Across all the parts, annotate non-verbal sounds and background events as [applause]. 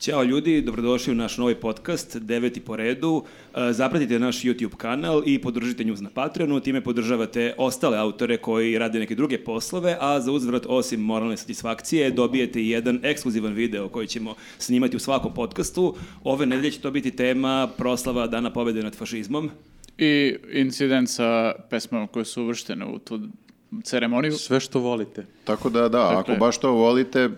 Ćao ljudi, dobrodošli u naš novi podcast, deveti po redu. E, Zapratite naš YouTube kanal i podržite njuz na Patreonu, time podržavate ostale autore koji rade neke druge poslove, a za uzvrat osim moralne satisfakcije dobijete i jedan ekskluzivan video koji ćemo snimati u svakom podcastu. Ove nedelje će to biti tema proslava Dana pobede nad fašizmom. I incident sa pesmama koje su uvrštene u tu ceremoniju. Sve što volite. Tako da, da, Dakle- ako baš to volite,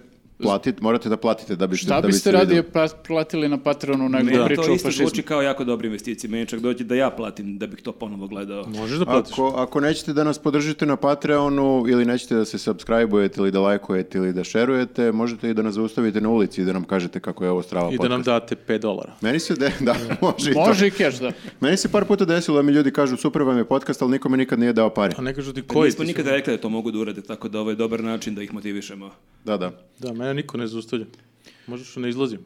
platit, morate da platite da biste, Šta da biste radije radili? pa- platili na Patreonu nego Meni priču to o isto fašizmu? zvuči kao jako dobra investicija. Meni čak dođe da ja platim da bih to ponovo gledao. Možeš da platiš? Ako, ako nećete da nas podržite na Patreonu ili nećete da se subscribe-ujete ili da lajkujete ili da šerujete, možete i da nas zaustavite na ulici i da nam kažete kako je ovo strava I podcast. da nam date 5 dolara. Meni se, de, [laughs] da, može, i to. Može i keš, da. Meni se par puta desilo da mi ljudi kažu super vam je podcast, ali nikome nikad nije dao pare. A ne kažu ti Koji koji ti Nismo su? nikada rekli da to mogu da urade, tako da ovo je dobar način da ih motivišemo. Da, da. Da, mene niko ne zaustavlja. Možeš ne izlazim.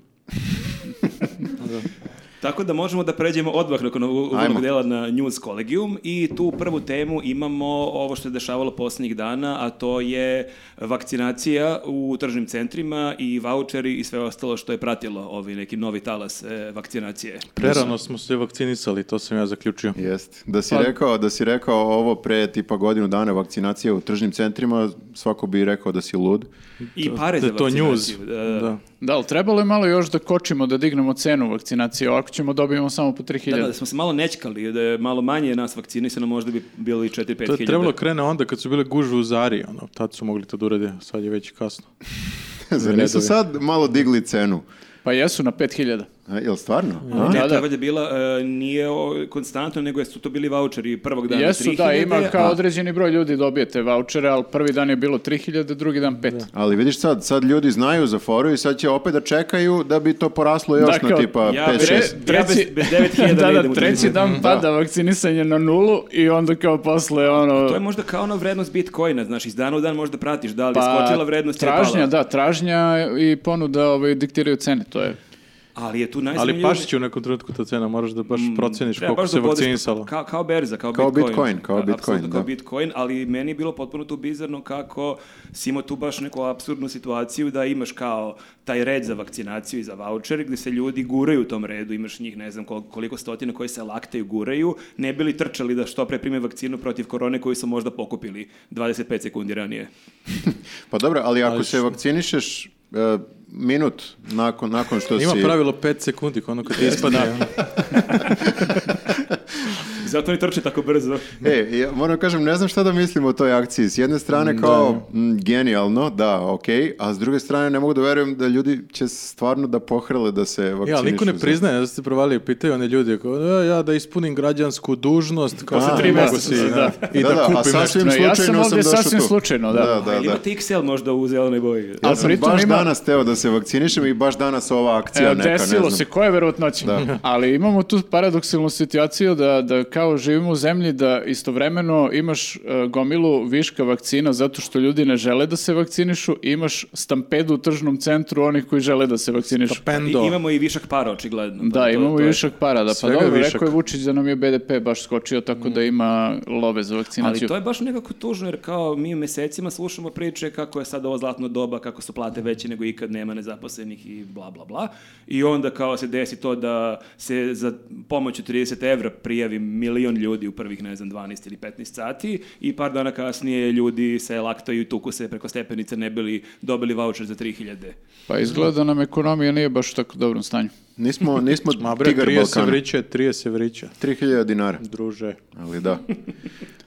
Tako da možemo da pređemo odmah nakon ovog Ajmo. uvodnog dela na News Collegium i tu prvu temu imamo ovo što je dešavalo posljednjih dana, a to je vakcinacija u tržnim centrima i voucheri i sve ostalo što je pratilo ovi neki novi talas e, vakcinacije. Prerano smo se vakcinisali, to sam ja zaključio. Jest. Da si, Pa- rekao, da si rekao ovo pre tipa godinu dana vakcinacije u tržnim centrima, svako bi rekao da si lud. [laughs] I pare Da za je to news. vakcinaciju. e, Da, da, Da. Da, ali trebalo je malo još da kočimo, da dignemo cenu vakcinacije, ovako ćemo dobijemo samo po 3000. da, da smo se malo nećkali, da je malo manje nas vakcinisano, možda bi bili 4-5 To je hiljada. trebalo krene onda kad su bile gužve u Zari, ono, tad su mogli to da urade, sad je već kasno. Zar nisu Redovi. sad malo digli cenu? Pa jesu na 5000. A, E, jel stvarno? A? Ne, Da, to je da. valjda bila, e, nije o, konstantno, nego su to bili voucheri prvog dana Jesu, da, 3000, ima kao a- određeni broj ljudi dobijete vouchere, ali prvi dan je bilo 3000, drugi dan 5. Da. Ali vidiš sad, sad ljudi znaju za foru i sad će opet da čekaju da bi to poraslo još Dakle, na tipa ja 5-6. bez- Šest. Ja bez- bez 9000 da, ne da, idem u treći trgovinu. dan pada vakcinisanje na nulu i onda kao posle ono... Pa To je možda kao ona vrednost Bitcoina, znaš, iz dana u dan možda pratiš da li je skočila vrednost ili je Pa, tražnja, pala. da, tražnja i ponuda ovaj, diktiraju cene, to je. Ali je tu Ali najzanimljivije... pašće u nekom trenutku ta cena, moraš da baš proceniš Treba koliko baš se da podeš- vakcinisalo. Kao, kao berza, kao, Kao Bitcoin. Bitcoin, kao A, Bitcoin, apsolutno kao da. Bitcoin, ali meni je bilo potpuno tu bizarno kako si imao tu baš neku apsurdnu situaciju da imaš kao taj red za vakcinaciju i za voucher gdje se ljudi guraju u tom redu, imaš njih ne znam koliko, koliko stotina koji se laktaju, guraju, ne bili trčali da što pre prime vakcinu protiv korone koju su možda pokupili 25 sekundi ranije. Pa dobro, ali ako Ali se što- vakcinišeš e, minut nakon, nakon što Ima si... pravilo 5 sekundi, kao ono kad ti ispadne. Zato oni trče tako brzo. E, ja moram kažem, ne znam šta da mislim o toj akciji. S jedne strane kao mm, genijalno, da, okej, a s druge strane ne mogu da verujem da ljudi će stvarno da pohrle da se vakcinišu. [laughs] Ja, ali niko ne za- priznaje da ste provalili, pitaju one ljudi, kao, "E, ja da ispunim građansku dužnost, kao A, se tri tri mogu mjeseca si, se, da. i da, da, a kupim nešto. sasvim Ne, ja sam slučajno sam, ovdje došao sasvim tu. slučajno, da. da, Ali da. imate XL možda u zelenoj boji. A Ja sam pritom baš ima- danas teo da se vakcinišem i baš danas ova akcija Evo, neka, ne desilo znam. se, koje verovatnoće. Da. Ali imamo tu paradoksalnu situaciju da, da kao živimo u zemlji da istovremeno imaš e, gomilu viška vakcina zato što ljudi ne žele da se vakcinišu, imaš stampedu u tržnom centru onih koji žele da se vakcinišu. I, Pendo. imamo i višak para, očigledno. Pa Da, to- imamo to je- višak para, da pa Svega dobro, višak. rekao je Vučić da nam je BDP baš skočio, tako da ima love za vakcinaciju. Mm. znači- Ali to je baš nekako tužno, jer kao mi mesecima slušamo priče kako je sad ovo zlatno doba, kako su plate veće nego ikad, nema nezaposlenih i bla, bla, bla. I onda kao se desi to da se za pomoć od 30 evra prijavi milion ljudi u prvih, ne znam, 12 ili 15 sati i par dana kasnije ljudi se laktaju i tuku se preko stepenice ne bili dobili voucher za 3000. Pa izgleda da nam ekonomija nije baš u tako dobrom stanju. Nismo, [laughs] nismo Ma bre, tigar 30 Balkana. vrića, je 30 vrića, 3000 dinara, druže. [laughs] ali da.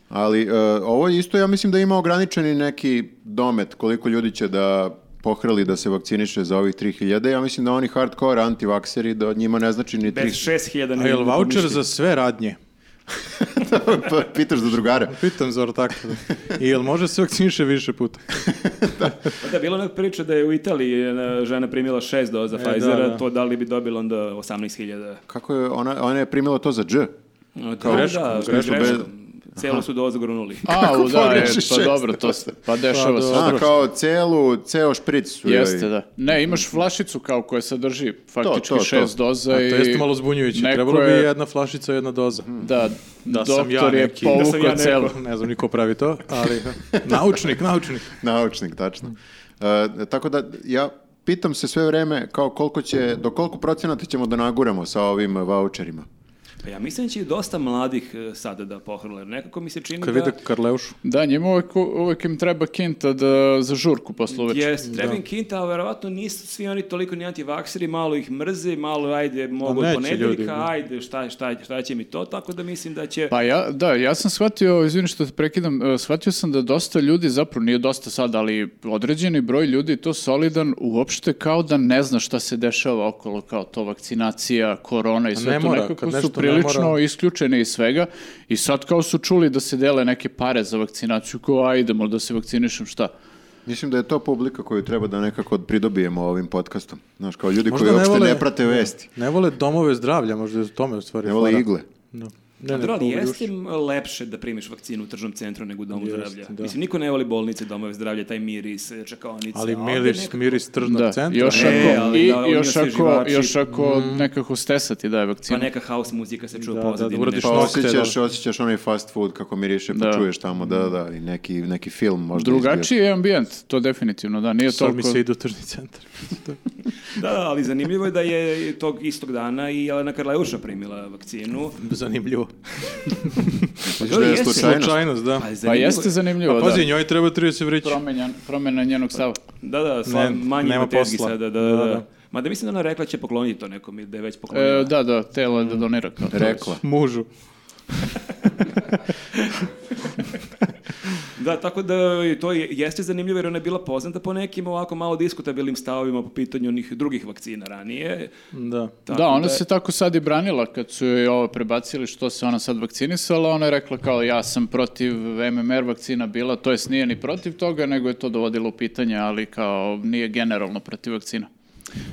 Ali e, ovo isto ja mislim da ima ograničeni neki domet koliko ljudi će da pohrli da se vakciniše za ovih 3000. Ja mislim da oni hardcore antivakseri da od njima ne znači ni Bez 3000. 6000 A ne je mogu voucher ništa. za sve radnje? [laughs] Pa Pitaš za drugare. Pitam zar [laughs] tako. I jel može se vakciniše više puta? Pa Da, bilo je neka priča da je u Italiji jedna žena primila šest doza E, da, Pfizera, da. to da li bi dobila onda 18.000. Kako je, ona, ona je primila to za dž. Kao greškom, da, greškom, greškom. Celu su dozu grunuli. [laughs] A, u, da, je, pogrešiš pa šest? dobro, to se, pa dešava se. A, kao celu, ceo špric su joj. Jeste, da. Ne, imaš flašicu kao koja sadrži faktički to, to. šest doza A to i... jeste malo zbunjujuće. neko Trebalo bi je- jedna flašica, jedna doza. Da, Da sam doktor ja je neki- povukao Da sam ja neko. celu. Ne znam niko pravi to, ali naučnik, naučnik. Naučnik, tačno. E, tako da, ja pitam se sve vreme kao koliko će, do koliko procenata ćemo da naguramo sa ovim voucherima. Pa ja mislim da će i dosta mladih e, sada da pohrle. jer Nekako mi se čini Kad da... vide Karleušu. Da, njima uvek, uvek im treba kinta da, za žurku posle uveče. Jes, treba im kinta, ali verovatno nisu svi oni toliko ni antivakseri, malo ih mrze, malo ajde mogu od neće ljudi, ponedeljka, da. ajde šta, šta, šta će mi to, tako da mislim da će... Pa ja, da, ja sam shvatio, izvini što te prekidam, e, shvatio sam da dosta ljudi, zapravo nije dosta sad, ali određeni broj ljudi, to solidan, uopšte kao da ne zna šta se dešava okolo, kao to vakcinacija, korona i sve Pa ne to mora, nekako kad su nešto ne prilično mora. isključeni iz svega i sad kao su čuli da se dele neke pare za vakcinaciju, kao a idemo da se vakcinišem, šta? Mislim da je to publika koju treba da nekako pridobijemo ovim podcastom. Znaš, kao ljudi Možda koji ne uopšte vole- ne prate vesti. Ne vole domove zdravlja, možda je u tome u stvari. Ne vole fora. igle. Da. A Ne, ne, dobro, ali ne, jeste im lepše da primiš vakcinu u tržnom centru nego u domu Jeste, zdravlja. da. Mislim, niko ne voli bolnice, domove zdravlja, taj miris, e, čekaonice. ali a ovde miris, nekako- miris tržnog Da, centra. još E, ako, ali i, da, oni još su ako, živači. još ako Mm. nekako stesati da je vakcina. Pa neka house muzika se čuje Da, da, da, da pozadini. uradiš nešto. Pa Nokte, osjećaš, osjećaš onaj fast food kako miriše, pa Da. čuješ tamo, da, da, i neki, neki film možda izbio. Drugačiji je ambijent, to definitivno, da, nije Sad mi toliko... se ide u tržni centar. Da, da, ali zanimljivo je da je tog istog dana i Jelena Karleuša primila vakcinu. Zanimljivo. Misliš da je Jeste. slučajnost? Slučajnost, da. Pa, je zanimljivo Pa je- jeste zanimljivo, A da. pazi, njoj treba 30 vrića. Promenja, promena njenog stava. E, Da, da, sla, Ne, manje nema ima tezgi posla. sada. Da, da, da. Mada mislim da ona rekla će pokloniti to nekom ili da je već poklonila. E, da, da, telo je da donira kao to. Rekla. Mužu. Da, tako da i to je, jeste zanimljivo jer ona je bila poznata po nekim ovako malo diskutabilnim stavovima po pitanju onih drugih vakcina ranije. Da. Tako da, ona se tako sad i branila kad su joj ovo prebacili što se ona sad vakcinisala, ona je rekla kao ja sam protiv MMR vakcina bila, to jest nije ni protiv toga, nego je to dovodilo u pitanje, ali kao nije generalno protiv vakcina.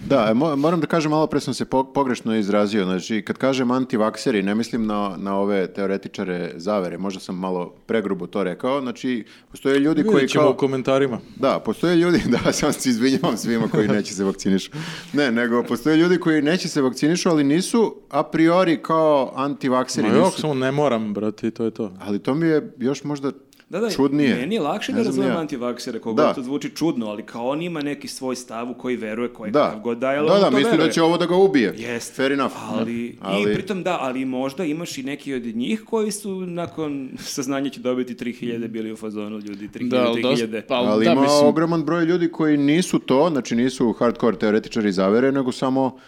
Da, e, mo- moram da kažem, malo pre sam se po- pogrešno izrazio. Znači, kad kažem antivakseri, ne mislim na, na ove teoretičare zavere. Možda sam malo pregrubo to rekao. Znači, postoje ljudi koji Vidjet ćemo kao... u komentarima. Da, postoje ljudi, [laughs] da, sam se izvinjavam svima koji neće se vakcinišu. Ne, nego postoje ljudi koji neće se vakcinišu, ali nisu a priori kao antivakseri. Ma jok, nisu- samo ne moram, brate, i to je to. Ali to mi je još možda Da, da, čudnije. meni je lakše Ne da znam razumem ja. antivaksere, koga Da. to zvuči čudno, ali kao on ima neki svoj stav u koji veruje, koji Da, kakav god daje, ali da, on da, to mislim veruje. da će ovo da ga ubije. Jest. Fair enough. Ali, Ali- i pritom da, ali možda imaš i neki od njih koji su nakon [laughs] saznanja će dobiti 3000 bili u fazonu ljudi, 3000, Da, ali, dosta, 3000. pa, Ali da, ima mislim, ogroman broj ljudi koji nisu to, znači nisu hardcore teoretičari zavere, nego samo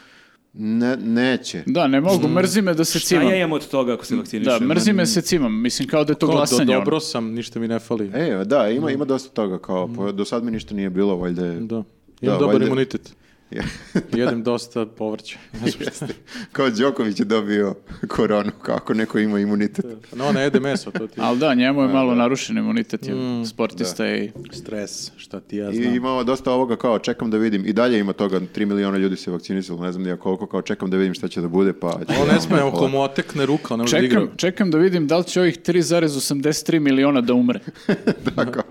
ne, neće. da, ne mogu, mrzi me da se Šta cimam. ja imam od toga ako se vakcinišem? Da, mrzi me da se cimam, mislim kao da je to Kao, do, glasanje. ono. dobro sam, ništa mi ne fali. E, da, ima, ima dosta toga, kao, pa do sad mi ništa nije bilo, valjda je... Da. Imam Da, dobar valjda- imunitet. [laughs] Jedem dosta [laughs] povrća. Ne znam šta. [laughs] kao Đoković je dobio koronu, kako neko ima imunitet. No, ne jede meso, to ti je ono. Ali da, njemu je malo narušen imunitet, je sportista je i... stres, šta ti ja I znam. imao dosta ovoga kao čekam da vidim. I dalje ima toga, 3 miliona ljudi se vakcinisalo, ne znam ni ja koliko, kao čekam da vidim šta će da bude, pa... Ovo ne smijem, ako [laughs] mu otekne ruka, on ne može da igra. Čekam, čekam da vidim da li će ovih 3,83 miliona da umre. Tako.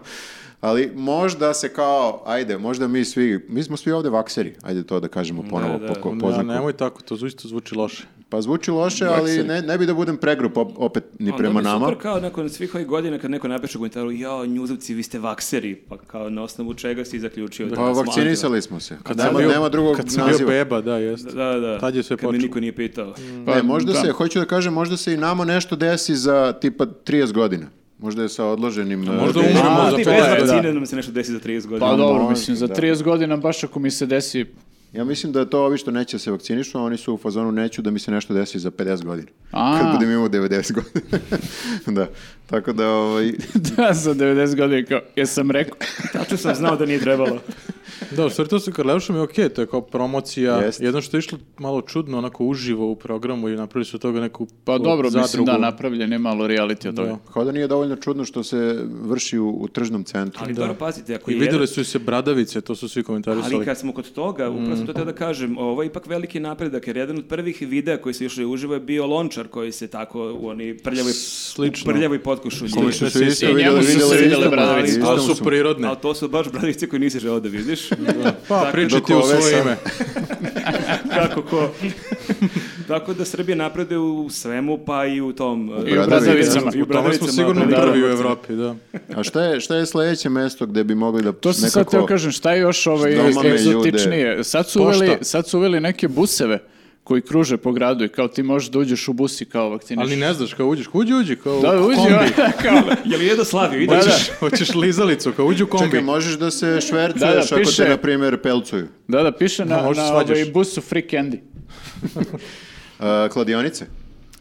Ali možda se kao, ajde, možda mi svi, mi smo svi ovde vakseri, ajde to da kažemo ponovo da. po ko- Ne, poznaku. nemoj tako, to zvuči, to zvuči loše. Pa zvuči loše, ali ne, ne bi da budem pregrup op- opet ni Ali prema to mi je nama. Super kao nakon svih ovih godina kad neko napiše u komentaru jao, njuzovci, vi ste vakseri, pa kao na osnovu čega si zaključio da Pa smo vakcinisali smo se. Kad sam nema, bio- nema drugog Kad sam bio naziva. beba, da, jeste. anti- Da, da. Tad je sve Kad me počelo. niko nije pitao. Ne, možda da. se, hoću da kažem, možda se i nama nešto desi za tipa 30 godina. Možda je sa odloženim... e, možda bi- umremo A, za ti to, bez da. vakcine nam se nešto desi za 30 godina. Pa dobro, može, mislim, za da. 30 godina baš ako mi se desi... [laughs] Ja mislim da je to ovi što neće da se vakcinišu, a oni su u fazonu neću da mi se nešto desi za 50 godina. A. Kad budem imao 90 godina. [laughs] da, tako da ovaj, da, za 90 godina kao, jesam rekao. Tačno sam znao da nije trebalo. Da, u stvari to sa Karleušom je okej, to je kao promocija. Jeste. Jedno što je išlo malo čudno, onako uživo u programu i napravili su od toga neku Pa dobro, mislim zadrugu. da, napravljen je malo reality od toga. Da. kao da nije dovoljno čudno što se vrši u, u tržnom centru. Ali dobro, pazite, ako I je vidjeli jedan- su se bradavice, to su Mm. svi komentarisali. Ali kad smo kod toga, upravo sam to teo da kažem, ovo je ipak veliki napredak, jer jedan od prvih videa koji su išli uživo je bio lončar koji se tako u oni prljavoj, Slično. u prljavoj potkošulji. Kome su se isto I njemu vidjeli, su se vidjeli vidjele isto, bradavice. ali To istom su prirodne. Ali to su baš bradice koje nisi želeo da [laughs] vidiš. Pa Tako- pričaj Dok ti u svoje ove sam- ime. Kako ko. Tako da Srbija napreduje u svemu, pa i u tom... uh, I u bradavicama. I u U tome smo bradavicama, sigurno bradavicama. prvi u Evropi, da. A šta je, šta je sledeće mesto gde bi mogli da To sam sad teo kažem, šta je još ovaj Šta imamo egzotičnije? ljude? Sad su, uveli, Pošta. sad su uveli neke buseve koji kruže po gradu i kao ti možeš da uđeš u bus i kao vakciniš. Ali ne znaš, kao uđeš, uđi, uđi, kao Da, u uđi, kombi. [laughs] kao, [laughs] Jel je do Slaviju, Da, ideš? da. [laughs] Hoćeš, hoćeš lizalicu, kao uđi u kombi. Čekaj, možeš da se Da, da, švercuješ ako piše. te, na primjer, pelcuju. Da, da, piše na, Da, možda na svađaš. ovaj busu free candy. A, kladionice?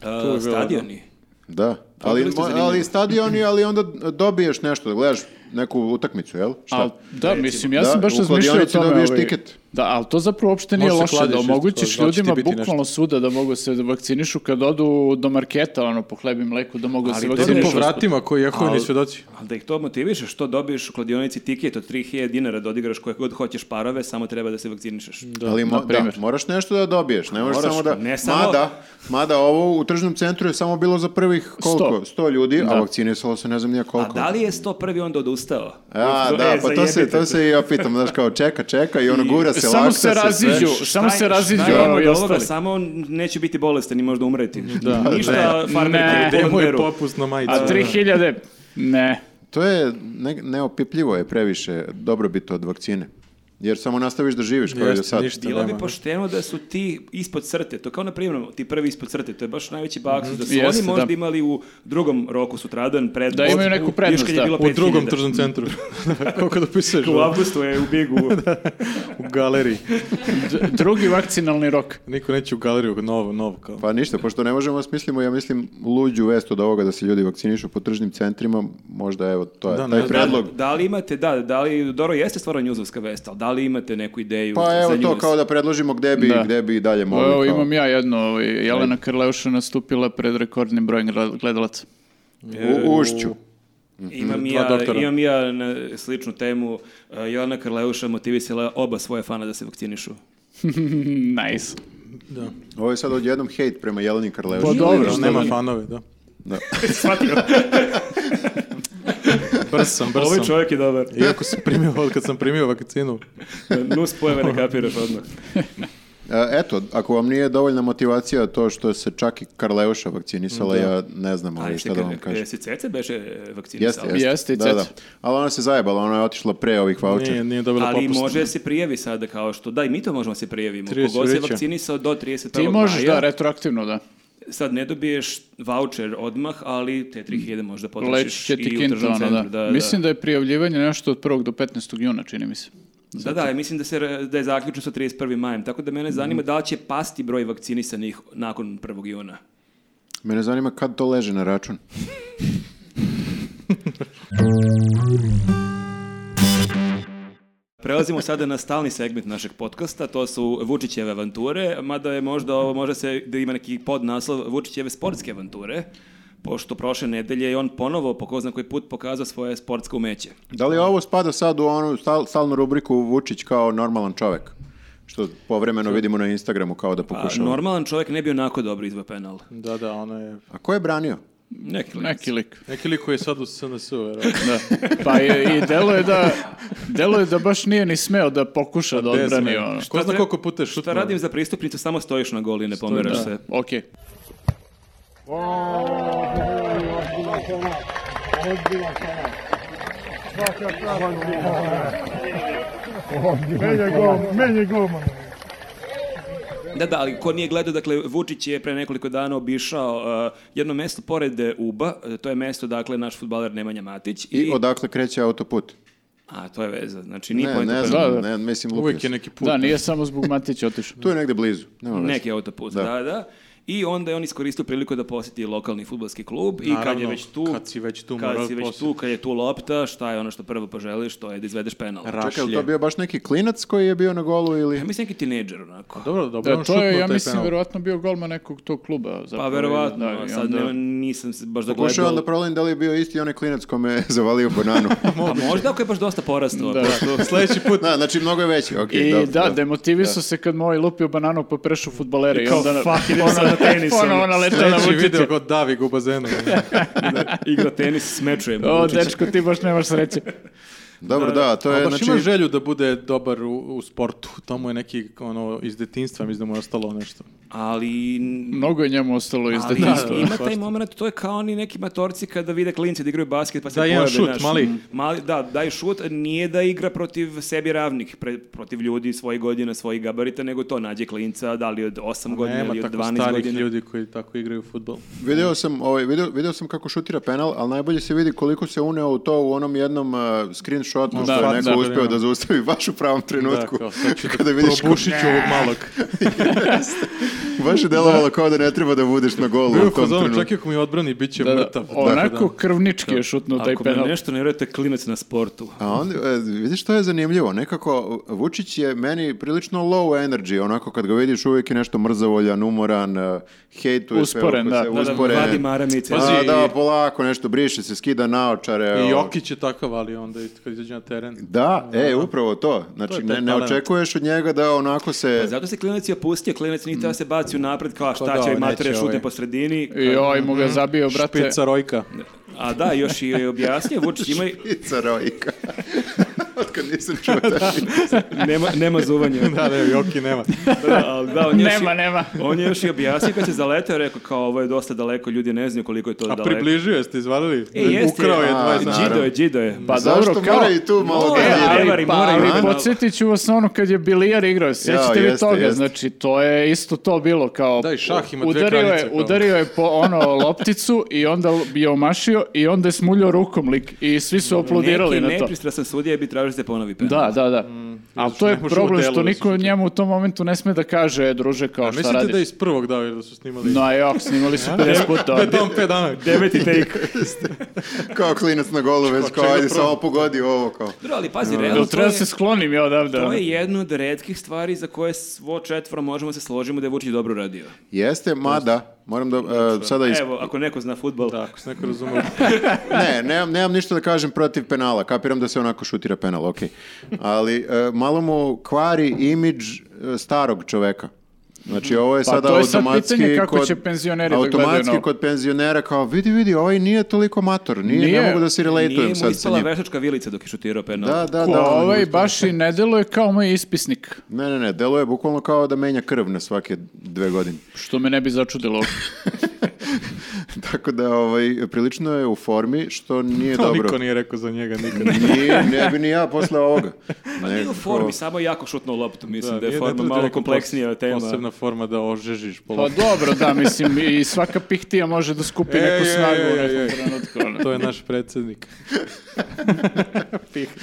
Uh, stadioni. Da. Ali, bili ste mo- zanimljivi. ali stadioni, ali onda dobiješ nešto, da gledaš neku utakmicu, jel? Šta? Al, da, mislim, ja sam Da, baš u razmišljao o kladionici tome. dobiješ ovaj, tiket. Da, ali to zapravo uopšte nije Može se loše, da kladiš isto, omogućiš znači ti ljudima biti nešto. bukvalno svuda da mogu se da vakcinišu kad odu do marketa, ono, po hlebi mleku, da mogu da se to Ti ne si vakcinišu. po vratima koji jehovini Al- svedoci. Ali da ih to motivišeš, što dobiješ u kladionici tiket od 3000 dinara da odigraš koje god hoćeš parove, samo treba da se vakcinišeš. Mm, ali mo- na primjer. da, moraš nešto da dobiješ, ne možeš Moraš, samo da... ne samo- Mada, mada ovo u tržnom centru je samo bilo za prvih koliko? 100, ljudi, a vakcinisalo se ne znam nije A koliko. da li je 101. onda odustao? A, Uf, da, e, pa to se, zajebite to se i ja pitam, znaš, kao čeka, čeka i ono gura se, E, Samo lakša se sve. raziđu, samo Šta je- se raziđu, šta je ono, od i ovoga? ostali. Mm, Samo neće biti bolestan i možda umreti. Ništa Ne. farmerke u Demo je Bolonderu. popust na majicu. A 3000, ne. To je ne- neopipljivo je previše dobrobit od vakcine. Jer samo nastaviš da živiš kao i do Jeste, sad. ništa Bilo bi nema. pošteno da su ti ispod crte, to kao na primjer ono, ti prvi ispod crte, to je baš najveći baksus, da su Mhm. Jeste, oni možda da. imali u drugom roku sutradan prednost. Da imaju neku Još kad prednost, je da. bilo U drugom 5000. tržnom centru. Kako da pisuješ? U avgustu je u [laughs] Bigu. U galeriji. D- drugi vakcinalni rok. Niko neće u galeriju, nov, nov kao. Pa ništa, pošto ne možemo da smislimo, ja mislim, luđu vest od ovoga da se ljudi vakcinišu po tržnim centrima, možda evo, to je Da, ne taj znam. predlog. da li imate, da, da li, dobro, jeste stvarno njuzovska vest, ali da li imate neku ideju Pa evo za to, njuz? kao da predložimo gde bi, Da. gde bi dalje mogli. Evo, kao. imam ja jedno, ovaj, Jelena Krleuša nastupila pred rekordnim brojem gled- gledalaca. U ušću. Mhm. Imam i dva ja, doktora. imam i ja na sličnu temu. Uh, Jelena Karleuša motivisala oba svoje fana da se vakcinišu. Nice. Ovo je sad odjednom hejt prema Jeleni Karleuši. Pa dobro, Što nema fanove, da. [laughs] Da. Brz sam, brz Ovaj sam. čovjek je dobar. Iako sam primio, od kad sam primio vakcinu. [laughs] Nus pojave [laughs] ne kapiraš odmah. E, Eto, ako vam nije dovoljna motivacija to što se čak i Karleuša vakcinisala, ja ne znam A ali jesi, šta da vam kažem. jesi e, cece beše e, vakcinisao? Jeste, jeste. Jeste i da, da. cec. Ali ona se zajebala, ona je otišla pre ovih Nije, vouchera. nije dobila Ali popust. može se prijavi sada kao što, da i mi to možemo se prijavimo. 30 Kogo se vreća. vakcinisao do 31. Ti možeš, maja, da, retroaktivno, da. sad ne dobiješ voucher odmah, ali te 3000 možda Leći potrošiš će ti i u kinta, tržnom ono, centru. da. Mislim da je prijavljivanje nešto od 1. do 15. juna, čini mi se. Da, da, ja mislim da, se, re- da je zaključno sa 31. majem, tako da mene zanima da li će pasti broj vakcinisanih nakon 1. juna. Mene zanima kad to leže na račun. Prelazimo sada na stalni segment našeg podcasta, to su Vučićeve avanture, mada je možda ovo, može se da ima neki podnaslov Vučićeve sportske avanture, pošto prošle nedelje je on ponovo, po ko zna koji put, pokazao svoje sportsko umeće. Da li ovo spada sad u onu stal- stalnu rubriku Vučić kao normalan čovek? Što povremeno vidimo na Instagramu kao da A, pokušava. Pa normalan čovjek ne bi onako dobro izveo penal. Da, da, ona je... A ko je branio? Neki klinac. Neki lik. [laughs] Neki lik koji je sad u SNS-u, verovatno. Da. Pa je, i delo je da, delo je da baš nije ni smeo da pokuša da Bez odbrani me. ono. Ko zna treba- koliko puta je šutno. Šta radim za pristupnicu, samo stojiš na goli, ne pomeraš se. Okej. Meni je gol, meni je golman. Da, da, ali ko nije gledao, dakle, Vučić je pre nekoliko dana obišao uh, jedno mesto pored e, Uba, e, to je mesto, dakle, naš futbaler Nemanja Matić. I odakle kreće autoput? A, to je veza, znači nije Ne, poenta ne penala. Da, znam, da. ne, mislim lupio Uvijek je sam. neki put. Da, nije samo zbog Matića otišao. Tu je negde blizu. Nema veze. Neki autoput, da. Da. da, I onda je on iskoristio priliku da posjeti lokalni futbalski klub i kad je Naravno, već tu, kad si već tu, kad mora si već posjet. tu, kad je tu lopta, šta je ono što prvo poželiš, to je da izvedeš penal. Čekaj, je li Rašlje. to bio baš neki klinac koji je bio na golu ili... Ja mislim neki tinejdžer onako. Dobro, dobro, Da, on E, to je, šutnuo ja taj mislim, penal. verovatno bio golman nekog tog kluba. Pa zapravo, verovatno, da, i sad onda- nema- nisam se baš Pokušao dogledao. da problem da li je bio isti onaj klinac kome je [laughs] zavalio bananu. A Pa možda ako je baš dosta porastao. Da. [laughs] pošto- Sljedeći put. da, znači mnogo je veći. Okay, I dobro, da, dobro. demotivisao se kad mu ovaj lupio bananu pa prešao futbalere i, kao, onda fuck, [laughs] idem sad na tenis, ponovo ono. naletao na Sljedeći video Vučića. god davi ga u bazenu. igra tenis s mečujem. O, Vučić. dečko, ti baš nemaš sreće. Dobro, da, to je, baš znači, ima želju da bude dobar u, u sportu. [laughs] To mu je neki, ono, iz detinstva, mislim da mu je ostalo nešto. Ali... Mnogo je njemu ostalo iz Ali detinjstva. ima taj moment, to je kao oni neki matorci kada vide klince da igraju basket pa se Da, jedan pojave. šut, znaš. mm. mali. mali. Da, daj šut, nije da igra protiv sebi ravnih, pre- protiv ljudi svojih godina, svojih gabarita, nego to nađe klinca, da li od 8 godina Nema ili od tako 12 starih godina. ljudi koji tako igraju futbol. Video sam, ovaj, video, video sam kako šutira penal, ali najbolje se vidi koliko se uneo u to u onom jednom uh, screenshotu što da, je neko da, uspeo da, da, da. zaustavi baš u pravom Da, trenutku. kao sad [laughs] ću Kada da vidiš ko- probušit ću ovog malog. baš je delovalo kao da ne treba da budeš na golu Bio [laughs] u u tom fazonu, trenutku. čak i ako mi odbrani, bit će Da, da, mrtav. onako Dakle, da. krvnički je šutnuo taj Ako penal. me nešto ne vjerujete, klinac na sportu. A onda, e, vidiš što je zanimljivo, nekako Vučić je meni prilično low energy, onako kad ga vidiš uvijek je nešto mrzavoljan, umoran, e, hejtuje sve Usporen, oko da. se, Da, da, usporen. vadi maramice. Pazi, A, i- da, polako nešto briše se, skida naočare. I o- Jokić je takav, ali onda i kad izađe na teren. Da, e, upravo to. To Znači, je taj ne, ne talent. očekuješ od njega da onako se... E, Pa Zato se klinac je opustio, klinac nije teo se baci u napred, kao Mm. Pa da, šta će, neće matere ovaj. šutne po sredini. I ovaj mu ga zabio, brate. [laughs] Špica Rojka. A da, još i objasnio, Vučić ima, Pizza Rojka. Otkad nisam čuo [laughs] taj nema, nema [laughs] zuvanja. da, ne, Joki nema. Da, ali da, on je još i- Nema, nema. On je još i objasnio kad se zaletao, rekao kao ovo je dosta daleko, ljudi ne znaju koliko je to A daleko. približio je, ste izvalili? E, jeste. Ukrao je a, 20 Đido je, Đido je. Pa Zašto dobro, kao... mora i tu malo No, da e, vidi? ali- pa, moraju, ali a? podsjetit ću vas ono kad je bilijar igrao, sjećate vi jeste, toga, jeste. znači to je isto to bilo kao... Da, i šah ima dve udario kraljice, pa- Je, kao. udario je po ono lopticu i onda je omašio i onda je smuljio rukom lik i svi su aplaudirali Neki na to. nepristrasan sudija bi tražio da se ponovi penal. Da, da, da. Ali to je Mm. ne može u problem delu što da se niko šutira. njemu u tom momentu ne sme da kaže, e, druže, kao šta Mislite da je radiš? iz prvog dao jer da su snimali? No, jok, snimali su 50 puta. ono. Da je tamo 5 dana. Deveti take. Kao klinac na golu, već kao čega ajde prvo? samo pogodi ovo kao. Dobro, ali pazi, Jel realno, to treba je, da se sklonim ja odavde? to ono? je jedno od redkih stvari za koje svo četvoro možemo da se složimo da je Vučić dobro radio. Jeste, mada, moram da e, sada is... Evo, ako neko zna futbol, Da, ako se neko razume. Ne, nemam, nemam ništa da kažem protiv penala, kapiram da se onako šutira penal, okej. Ali e, malo mu kvari imidž e, starog čoveka. Znači ovo je Pa sada to je sad automatski pitanje kako kod, će penzioneri da gledaju ono. automatski na ovo. kod penzionera kao vidi vidi ovaj nije toliko mator, nije, Nije. ne mogu da se nije relatujem mu sad sa ispala njim. veštačka vilica dok je šutirao penal. Da, da, Ko, da. on je ovaj uspeo. baš i ne deluje kao moj ispisnik, Ne, ne, ne, delo je bukvalno kao da menja krv na svake dve godine. [laughs] što me ne bi začudilo. Tako da, ovaj, prilično je u formi, [laughs] što nije To dobro. niko nije rekao za njega nikad. Nije, ne bi ni ja posle ovoga. Pa nije u Nekako- formi, samo je jako šutno loptu, mislim da, nije- je ne forma treba ti malo neka kompleksnija pos- tema. Posebna forma da ožežiš po Pa loptu. dobro, da, mislim, i svaka pihtija može da skupi Ej, neku ej, snagu u ej, ej, ej. nekom trenutku. ono. To je naš predsjednik.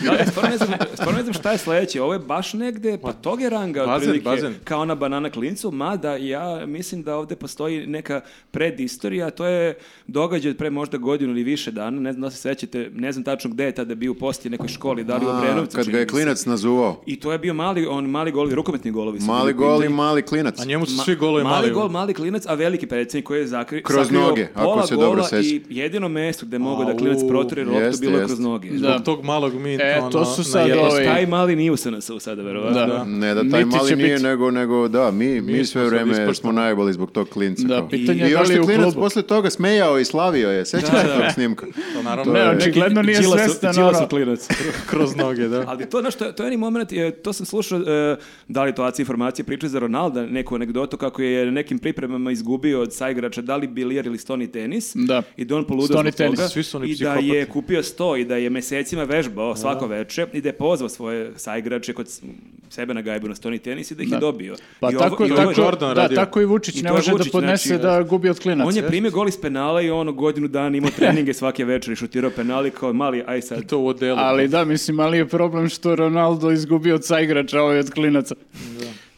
Da, ja stvarno ne znam, stvarno ne znam šta je sledeće. Ovo je baš negde pa tog je ranga bazen, otprilike, bazen. kao ona banana klincu, mada ja mislim da ovde postoji neka predistorija, a to je događaj od pre možda godinu ili više dana, ne znam da se sećate, ne znam tačno gde je tada bio u posti nekoj školi, da li u A, Obrenovcu. kad čini ga je mi se. klinac nazuvao. I to je bio mali, on mali gol, rukometni golovi. su Mali bili gol i pitanje. mali klinac. A njemu su Ma- svi golovi mali. gol, mali klinac, a veliki predsjednik koji je zakri, Kroz sakrio noge, ako pola se dobro gola sećam. i jedino mesto gde mogu da Au, klinac protire loptu jeste, bilo je jeste. kroz noge. Da. Zbog tog malog mi E, ono, to su sad najedno- ove- Taj mali nije u SNS-u sada, verovatno. Da. Ne da taj Niti mali će nije, biti. nego, nego da, mi, mi, Mi smo sve sad vreme ispaštali. smo najbolji zbog tog klinca. Da, kao. pitanje I je da još li je je u klinac klubu. posle toga smejao i slavio je, sećaš se tog snimka. To naravno Ne, je očigledno nije Đilasov- svestan, Đilasov ono. klinac. [laughs] kroz noge, da. Ali to, znaš, to, je- to je onaj moment, e, to sam slušao, e, da li to AC informacije priča za Ronalda, neku anegdotu kako je na nekim pripremama izgubio od saigrača, da li bilijar ili stoni tenis. Da. I da on poludeo Stoni zbog toga. tenis, svi su oni I da psihopati. je kupio sto i da je mesecima vežbao svako veče i da je pozvao svoje saigrače kod s- sebe na gajbu na stoni tenis i da ih je dobio. Pa I ovo- tako, i ovo je- tako, Jordan da, radio. tako i Vučić I ne to je može da Vučić, podnese znači, da gubi od klinaca. On je primio gol iz penala i ono godinu dana [laughs] imao treninge svake večeri, šutirao penali kao mali, aj sad. [laughs] To u odelu. Ali da, mislim, ali je problem što Ronaldo izgubio od saigrača, a ovaj od klinaca.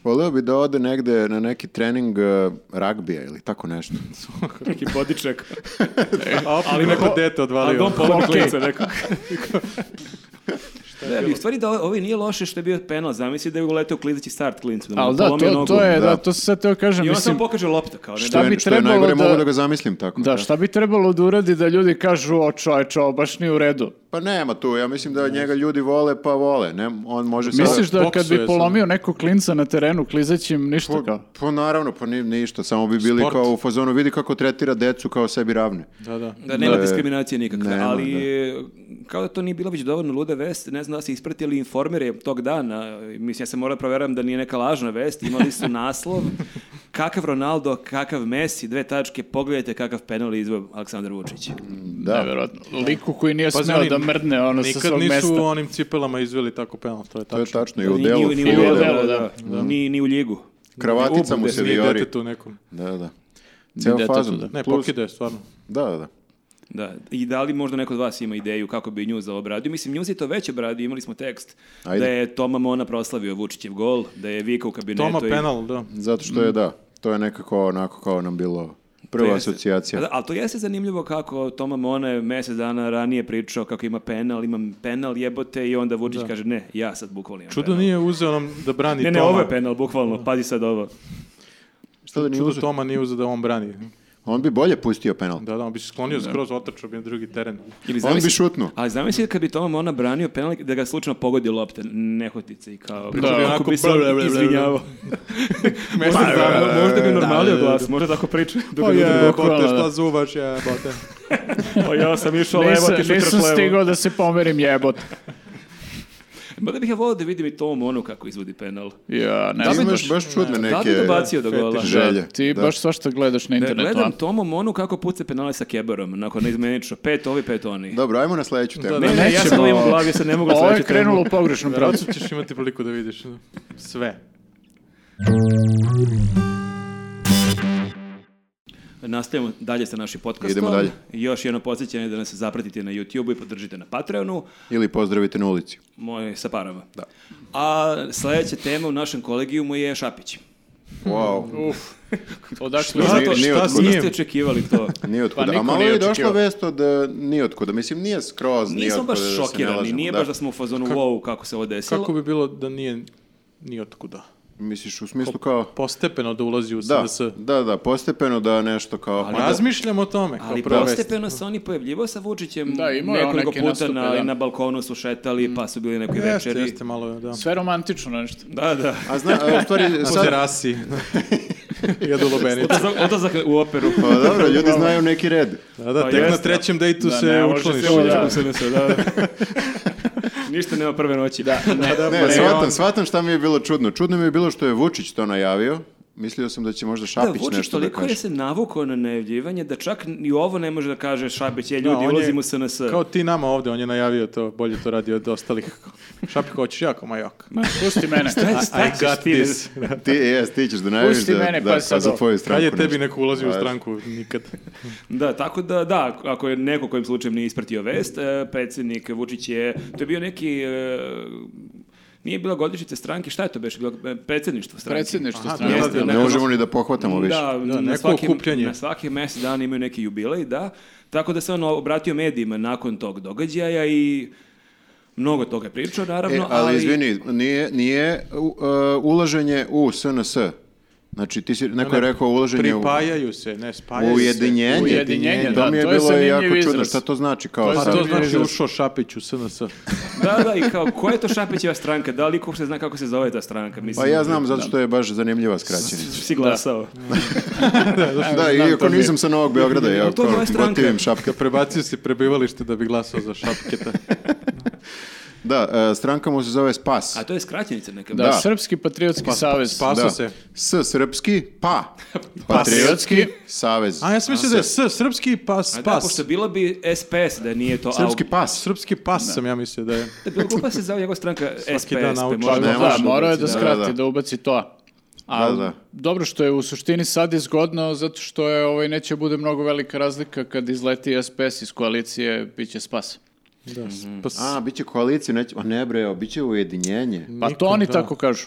Voleo bi da ode negde na neki trening uh, ragbija ili tako nešto. Neki podičak. A opet [laughs] ali neko dete Ali odvalio. Don Polo Okej. klinca rekao. Da, ali u stvari da ovo nije loše što je bio penal, zamisli da je uleteo klizeći start klincu. mu Ali da, polomio to, nogu. to je, da, da. to se sad teo kažem, I on mislim, samo pokaže lopta kao ne. Šta To da- je- bi što je trebalo najgore, da- mogu da ga zamislim tako. Da, šta bi trebalo da uradi da ljudi kažu, o čoveče, ovo baš nije u redu. Pa nema tu, ja mislim da njega ljudi vole pa vole. Ne, on može sada- Misliš da kad boksuje bi sam. polomio nekog klinca na terenu, klizaćim ništa kao? Pa, pa naravno, pa ni, ništa, samo bi bili Sport. kao u fazonu, vidi kako tretira decu kao sebi ravne. Da, da. Da, nema Da. diskriminacije nikakve, Nema, ali da. e, kao da to nije bila već dovoljno luda vest, ne znam da se ispratili informere tog dana, e, mislim ja se moram da proveram da nije neka lažna vest, imali su naslov kakav Ronaldo, kakav Messi, dve tačke, pogledajte kakav penal je izveo Aleksandar Vučić. Da. Nevjerojatno. Liku koji nije Pazi, smeo oni da mrdne ono sa Nikad svog nisu mesta. onim cipelama izveli tako penal, to je To je tačno. tačno i u Ni- delu. ni, ni full u delu. delu, delu, da, Ni, ni u ljigu. Kravatica mu Ubude, se ni Nije vijori. detetu nekom. Da, da. Ceo detetu, fazon. da. Ne, Plus- pokide, stvarno. Da, da, da. Da. I da li možda neko od vas ima ideju kako bi nju zaobradio? Mislim, nju je to već obradio, imali smo tekst Ajde. da je Toma Mona proslavio Vučićev gol, da je vikao u kabinetu. Toma i- penal, da. Zato što je, Mm. da, to je nekako onako kao nam bilo To prva jeste- asocijacija. Da, ali to jeste zanimljivo kako Toma Mona je mesec dana ranije pričao kako ima penal, imam penal jebote i onda Vučić kaže ne, ja sad bukvalno imam Čudo penal. nije uzeo nam da brani Ne, Toma. ne, ovo je penal, bukvalno, pazi sad ovo. Šta da nije Čudo uzeo? Toma nije uzeo da on brani. On bi bolje pustio penal. Da, da, on bi se sklonio skroz, otrčao bi na drugi teren. Ili On zamisli- bi šutnuo. Ali zamisli kad bi Toma Mona branio penal, da ga slučajno pogodi lopta, nehotice i kao... Da, kako onako bi se on bla, bla, bla, bla, bla. [laughs] izvinjavao. Pa, možda, dana. možda bi Da, normalio da, da. glas, možda tako priča. [laughs] Dok Pa ga ljudi je, dok- bukvalno, e, bote, da. šta zuvaš, je, bote. Pa ja sam išao levo, Nisam, ti šutiraš nisam levo. stigao da se pomerim jebot. Mada bih ja volio da vidim i Tomu onu kako izvodi penal. Ja, ne Ti znam baš. imaš baš čudne Da li bi neke dobacio do gola? fetiš. želje. Ti Da. baš svašta gledaš Da, na internetu. gledam a? Tomu Monu kako puca penale sa keberom, nakon neizmenično. Pet ovi, pet oni. Dobro, ajmo na sledeću temu. Ne, ne, ja sam Nećemo. to imam u glavi, ja sad ne mogu Ovo je sledeću temu. krenulo u pogrešnom pravcu. Verovatno ćeš imati priliku da vidiš sve. Nastavljamo dalje sa našim podcastom. Idemo dalje. Još jedno podsjećanje da nas zapratite na YouTube i podržite na Patreonu. Ili pozdravite na ulici. Moj sa parama. Da. A sledeća tema u našem kolegijumu je Šapić. Wow. Odakle Šta je to- Ni- ni šta otkuda. Nije. Niste očekivali to. Nije otkuda. Pa niko A malo nije je došla očekivao. vest od e, ni otkuda. Mislim, nije skroz ni Nismo baš otkuda da se ne šokirani, lažemo, nije da. baš da smo u fazonu wow kako se ovo desilo. Kako bi bilo da nije ni otkuda? Misliš, u smislu kao... Postepeno da ulazi u Da, SNS. da, da, postepeno da nešto kao... Pa razmišljam o tome. kao Ali prva vest. postepeno se oni pojavljivao sa Vučićem Da, imao je on nekoliko neke puta nastupe, na, da. na balkonu su šetali, pa su bili neki Jeste, večeri. jeste, malo je, da. Sve romantično nešto. Da, da. A zna, a, [laughs] u stvari, Po sad, [laughs] terasi. Jedu lubenicu. Odlazak, odlazak u operu. [laughs] Pa dobro, ljudi znaju neki red. Da, da, Pa tek na jeste. trećem dejtu Da, se ne može ukloniš. se ovo, Da. da. Ništa nema prve noći. Pa Ne, shvatam, shvatam šta mi je bilo čudno. Čudno mi je bilo što je Vučić to najavio. Mislio sam da će možda Da, Šapić Vučić nešto da toliko kaže. je se navukao na najavljivanje da čak ni ovo ne može da kaže Šabić, je Da, ljudi, on je ulazimo u SNS. Kao ti nama ovde, on je najavio to, bolje to radi od ostalih. [laughs] Šapik, hoćeš jako, ma jok. Pusti mene. Šta ćeš got ti? this. Ti, jes, ti ćeš da najaviš Pusti da, mene, da, pa da sad za ovo. tvoju stranku. Kad je tebi nešto. neko ulazi u Važno. stranku? Nikad. Da, tako da, da, ako je neko kojim slučajem nije ispratio vest, eh, predsjednik Vučić je, to je bio neki, eh, nije bila godišnjica stranke, šta je to beše, bilo eh, predsjedništvo stranke. Predsjedništvo Aha, stranke. Jeste, da, Ne neka- možemo ni da pohvatamo više. Da, na, neko svaki, okupljanje. na svaki mesec dana imaju neki jubilej, da. Tako da se on obratio medijima nakon tog događaja i mnogo toga je pričao, naravno, E, ali... ali izvini, nije, nije u- e, ulaženje u SNS. Znači, ti si, neko je rekao ulaženje u... Pripajaju se, ne, spajaju Ujedinjenje. Ujedinjenje, to da, mi je to je bilo jako zanimljiv čudno. izraz. Šta to znači? Kao, se. Pa sad- to znači ušao Šapić u SNS. Da, da, i kao, koja je to Šapićeva stranka? Da li ko se zna kako se zove ta stranka? Mislim, Pa ja znam zato što je baš zanimljiva skraćenica. Si glasao. Da, iako nisam sa Novog Beograda, ja to je moja kao stranka. gotivim šapke. Prebacio si prebivalište da bi glasao za Šapketa. Da, e, stranka mu se zove Spas. A to je skraćenica neka. Da, Da. Srpski patriotski savez. Spaso da. se. S srpski, [laughs] pa. Patriotski. savez. A ja sam mislio da je S, srpski pas, A da, pas. pošto bilo bi SPS da nije to... Srpski al- pas. Srpski pas sam ja mislio da je. Da bilo glupa se zove njegova stranka SPS. dan pa nauči. možda- Ne da, može morao je ubaci, da da. skrati, Da, da, da. ubaci to. A Da, da. dobro što je u suštini sad izgodno zato što je ovaj neće bude mnogo velika razlika kad izleti SPS iz koalicije biće spas. Da, s- pa s- A, bit će koalicija, neće... A ne bre, evo, bit će ujedinjenje. Pa Niko, to oni da. tako kažu.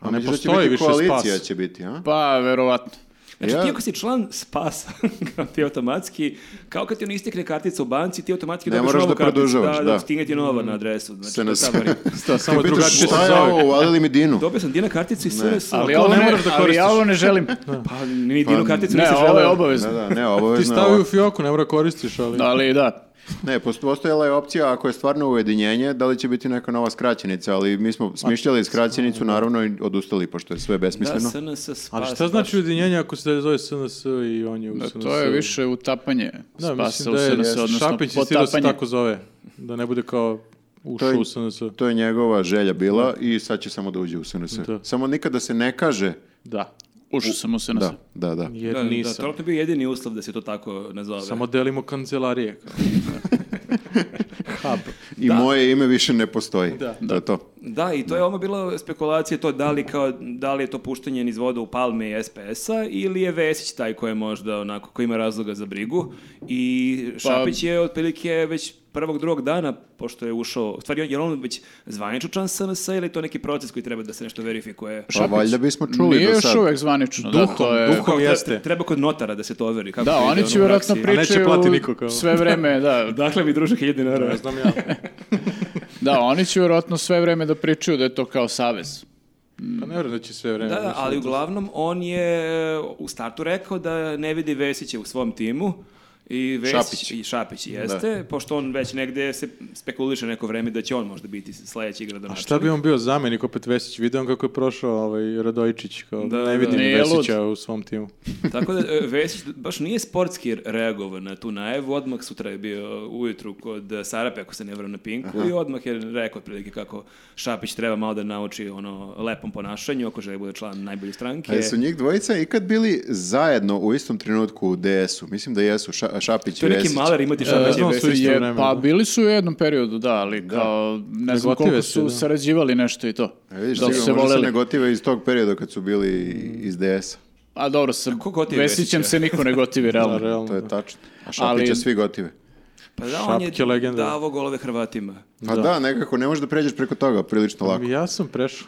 A ne misliš da će postoji biti više koalicija Spas. će biti, a? Pa verovatno. Znači, Ja- ti ako si član spasa, [laughs] kao ti automatski, kao kad ti on istekne kartica u banci, ti automatski Ne dobiješ moraš novu da karticu. produžavaš, da, da. stigne ti Mm. nova na adresu. Znači, to je SNS. ta varijanta. Šta, samo pitaš, drugačije šta se je zove. ovo, uvalili mi dinu. Dobio sam Dina karticu i SNS. Ali, to ovo ne ne, moraš da ali ja koristiš. ovo ne [laughs] želim. Pa ni Dinu karticu ne, nisi ovo je želeo. Da, obavezno. da, ne, Ti obavezno je stavi ovo. u fioku, ne mora koristiš, ali... Ali da. Ne, post- postojala je opcija ako je stvarno ujedinjenje, da li će biti neka nova skraćenica, ali mi smo smišljali skraćenicu, naravno i odustali, pošto je sve Da, besmisleno. SNS spas. Ali šta znači ujedinjenje ako se zove SNS i on je u Da, SNS? to je više utapanje spasa Da, mislim u da je SNS, odnosno Šapić insistira da se potapanje. tako zove. Da ne bude kao ušao To je- u SNS. To je njegova želja bila i sad će samo da uđe u SNS. Da. Samo nikada se ne kaže Da. Ušao sam u SNS. da, da, da. Jer Da, da, nisam. to je bio jedini uslov da se to tako nazove. Samo delimo kancelarije. Kao. Hub. I moje ime više ne postoji. To je to. Da, i to je ono bilo spekulacije to da li, kao, da li je to puštanje niz voda u palme i SPS-a ili je Vesić taj koji je možda onako, koji ima razloga za brigu i Šapić je otprilike već prvog, drugog dana, pošto je ušao, u stvari je on već zvaniču član SNS-a ili je to neki proces koji treba da se nešto verifikuje? Pa valjda bismo čuli Nije do još sad. uvek zvanično. da, to je- duhom. Kao, jeste. Treba kod notara E, da se to overi. Kako Da, to ide, oni ono, će u vjerojatno praksi. neće pričaju plati niko kao- sve vreme, da, Dakle mi druže hiljadi dinara. Ne znam ja. da, oni će vjerojatno sve vreme da pričaju da je to kao savez. Pa ne vjerujem da će sve vreme. Da, da, ali uglavnom on je u startu rekao da ne vidi Vesića u svom timu. I Vesić Šapić. i Šapić jeste, pošto on već negde se spekuliše neko vreme da će on možda biti sledeći A gradonačelnik. šta bi on bio zamenik opet Vesić? Vidio on kako je prošao ovaj Radojičić. Kao, Da, da. ne vidim Nije lud. Vesića u svom timu. Tako da e, Vesić baš nije sportski reagovao na tu najavu, odmah sutra je bio ujutru kod e, Sarape, ako se ne vram na Pinku, i odmah je rekao otprilike kako Šapić treba malo da nauči ono lepom ponašanju, ako želi da bude član najbolje stranke. A jesu njih dvojica ikad bili zajedno u istom trenutku u DS-u? Mislim da jesu, Ša- Šapić To i je neki Vesić. maler imati E, Šapić i znam su Vesić. isto Je, vreme, pa da. bili su u jednom periodu, da, ali kao, ne znam Negotive koliko se, su da. sarađivali nešto i to. E, vidiš, da su sigurno, se možda se ne voleli. gotive iz tog perioda kad su bili iz DS-a. A dobro, sa ko gotive Vesićem Vesića? se niko ne gotivi, [laughs] Da, realno. Pa realno. To da. je tačno. A Ali- Šapića svi gotive. Pa da, on je Šapke legenda. davao golove Hrvatima. Pa da. nekako ne možeš da pređeš preko toga prilično lako. Ja sam prešao.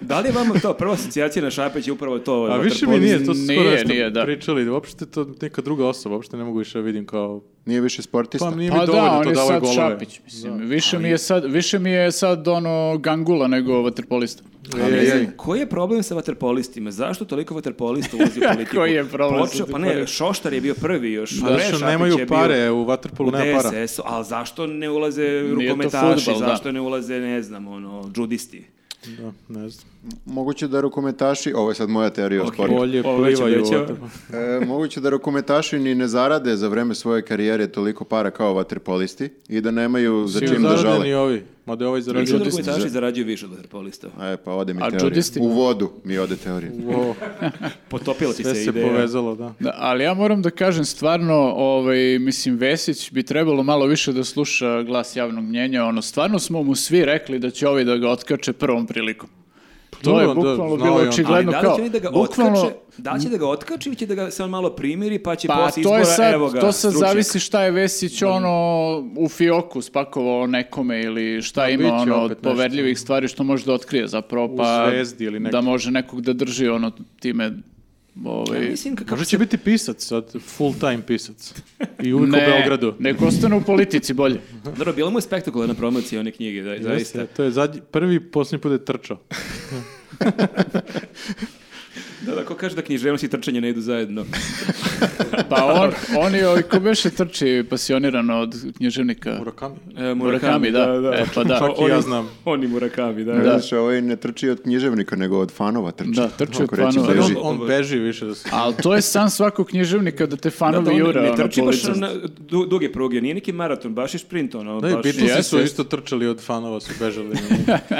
Da li je vama to prva asocijacija na Šapeć je upravo to? Pa A više mi vaterpolo? nije, to su skoro Nije, nešto nije, da. pričali. Uopšte to neka druga osoba, uopšte ne mogu više da vidim kao... Nije više sportista. Pa nije mi Pa da, dovoljno on to je da sad golove. Šapić, mislim. Više, mi je sad, više mi je sad ono gangula nego vaterpolista. Ej, ej, ej. Koji je problem sa vaterpolistima? Zašto toliko [laughs] vaterpolista ulazi u politiku? Koji je problem sa Počeo, pa ne, vaterpolistima? Šoštar je bio prvi još. Pa pre zato što Šapića je nemaju bio pare, u U E. Waterpolu nema para. DSS-u, ali zašto ne ulaze to rukometaši, fudbal, da. zašto ne ulaze, ne znam, ono, džudisti? Da, ne znam. Moguće da rukometaši, ovo je sad moja teorija o Ok. sportu, Bolje Ovo već plivaju u obećava. Waterpolu. E, moguće da rukometaši ni ne zarade za vreme svoje karijere toliko para kao vaterpolisti i da nemaju za Čim čim da zaraden i žale. ovi. Mada je ovaj zaradio. Mislim da džudisti- rukometaši zarađuju više od vaterpolista. E, pa ode mi A teorija. džudisti? U vodu mi ode teorija. Wow, Potopila ti sve se se ideja. povezalo, da. Da, ali ja moram da kažem stvarno, ovaj, mislim, Vesić bi trebalo malo više da sluša glas javnog mnjenja. Ono, stvarno smo mu svi rekli da će ovi da ga otkače prvom prilikom. To Pa dobro, je da, bukvalno znao bilo je on. Ali očigledno da li kao... će oni da ga bukvalno- otkače, da li će da ga otkače ili će da ga se on malo primiri pa će Pa posle to izbora, je sad, evo ga, to sad stručnjak. zavisi šta je Vesić ono u fioku spakovao nekome ili šta ima bit će ono od opet nešto. poverljivih stvari što može da otkrije zapravo U pa Zvezdi ili nekako. da može nekog da drži ono time ovaj, Ja mislim kako Možda se će biti pisac sad, full time pisac. I uvijek u ne, Beogradu. nek ostane u politici bolje. Dobro, bila mu je spektakularna promocija one knjige, da, zaista. Jeste, to je zadnji, prvi, posljednji put je trčao. Da, da, ko kaže da književnost i trčanje ne idu zajedno. Pa on, on je ovaj ko beše trči pasioniran od književnika. Murakami. E, Murakami, da. E, pa da. Čak i ja znam. [laughs] Oni Murakami, da. Da. Znaš, ovaj ne trči od književnika, nego od fanova trči. Da, trči od Ako reći, fanova. Sad beži. on, on beži više da se... Ali to je san svakog književnika da te Da, fanovi da, on jure. ne ono, trči po baš licu. na du- duge pruge, nije neki maraton, baš je šprint, ono, Da, i baš... Beatlesi Jeste, su jeste. isto trčali od fanova, su bežali.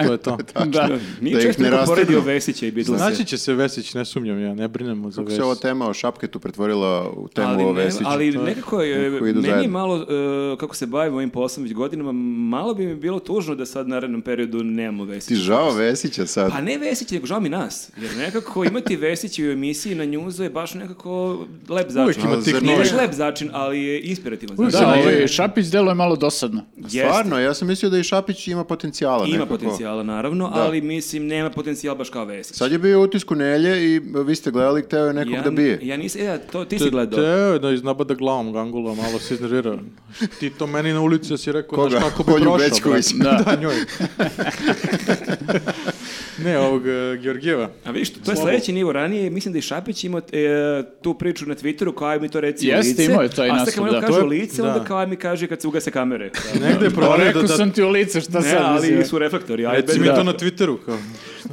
to je to. Da. Nije Da ih često ne neko rastrgnu. poredio Vesića i Beatlesa. Znači će se Vesić, ne sumnjam ja, ne brinemo za Kako se ova Vesić. tema o šapketu pretvorila u temu ali, o ne- Vesiću? ali nekako je, Koji idu meni je zajedno. malo, e, kako se bavim ovim poslom već godinama, malo bi mi bilo tužno da sad u narednom periodu nemamo Vesića. Ti žao Vesića sad. Pa ne Vesić, nego žao mi nas. Jer nekako imati Vesića u emisiji na njuzu je baš nekako lep začin. Uvijek ima Ali tih zar Nije nije- novih. baš lep začin, ali je inspirativan Uvijek začin. Da, Mislim, ovaj, je- Šapić deluje malo dosadno. Jeste. Stvarno, ja sam mislio da i Šapić ima potencijala. Ima nekako. potencijala, naravno, ali mislim, nema potencijala baš kao Vesić. Sad je bio u utisku Nelje ide i vi ste gledali, hteo je nekog ja, da bije. Ja nisam, ja, to ti si Te gledao. je da iznabada glavom gangula, malo se iznervirao. Ti to meni na ulici da si rekao, Koga? znaš kako bi Kolju prošao. brate." Bećković. Da, njoj. [laughs] ne, ovog e, Georgijeva. A vidiš, to je sledeći nivo. Ranije, mislim da i Šapić imao e, tu priču na Twitteru, kao aj mi to reci u Jeste, lice. imao je taj A sad kad naslov, mu da. kažu To je- lice, onda da. kao aj mi kaže kad se ugase kamere. Negde je Pa problem da, rekao da, sam ti u lice, šta Ne, sad mislim? ali su reflektori. Aj, bez recimo da. to na Twitteru. Kao.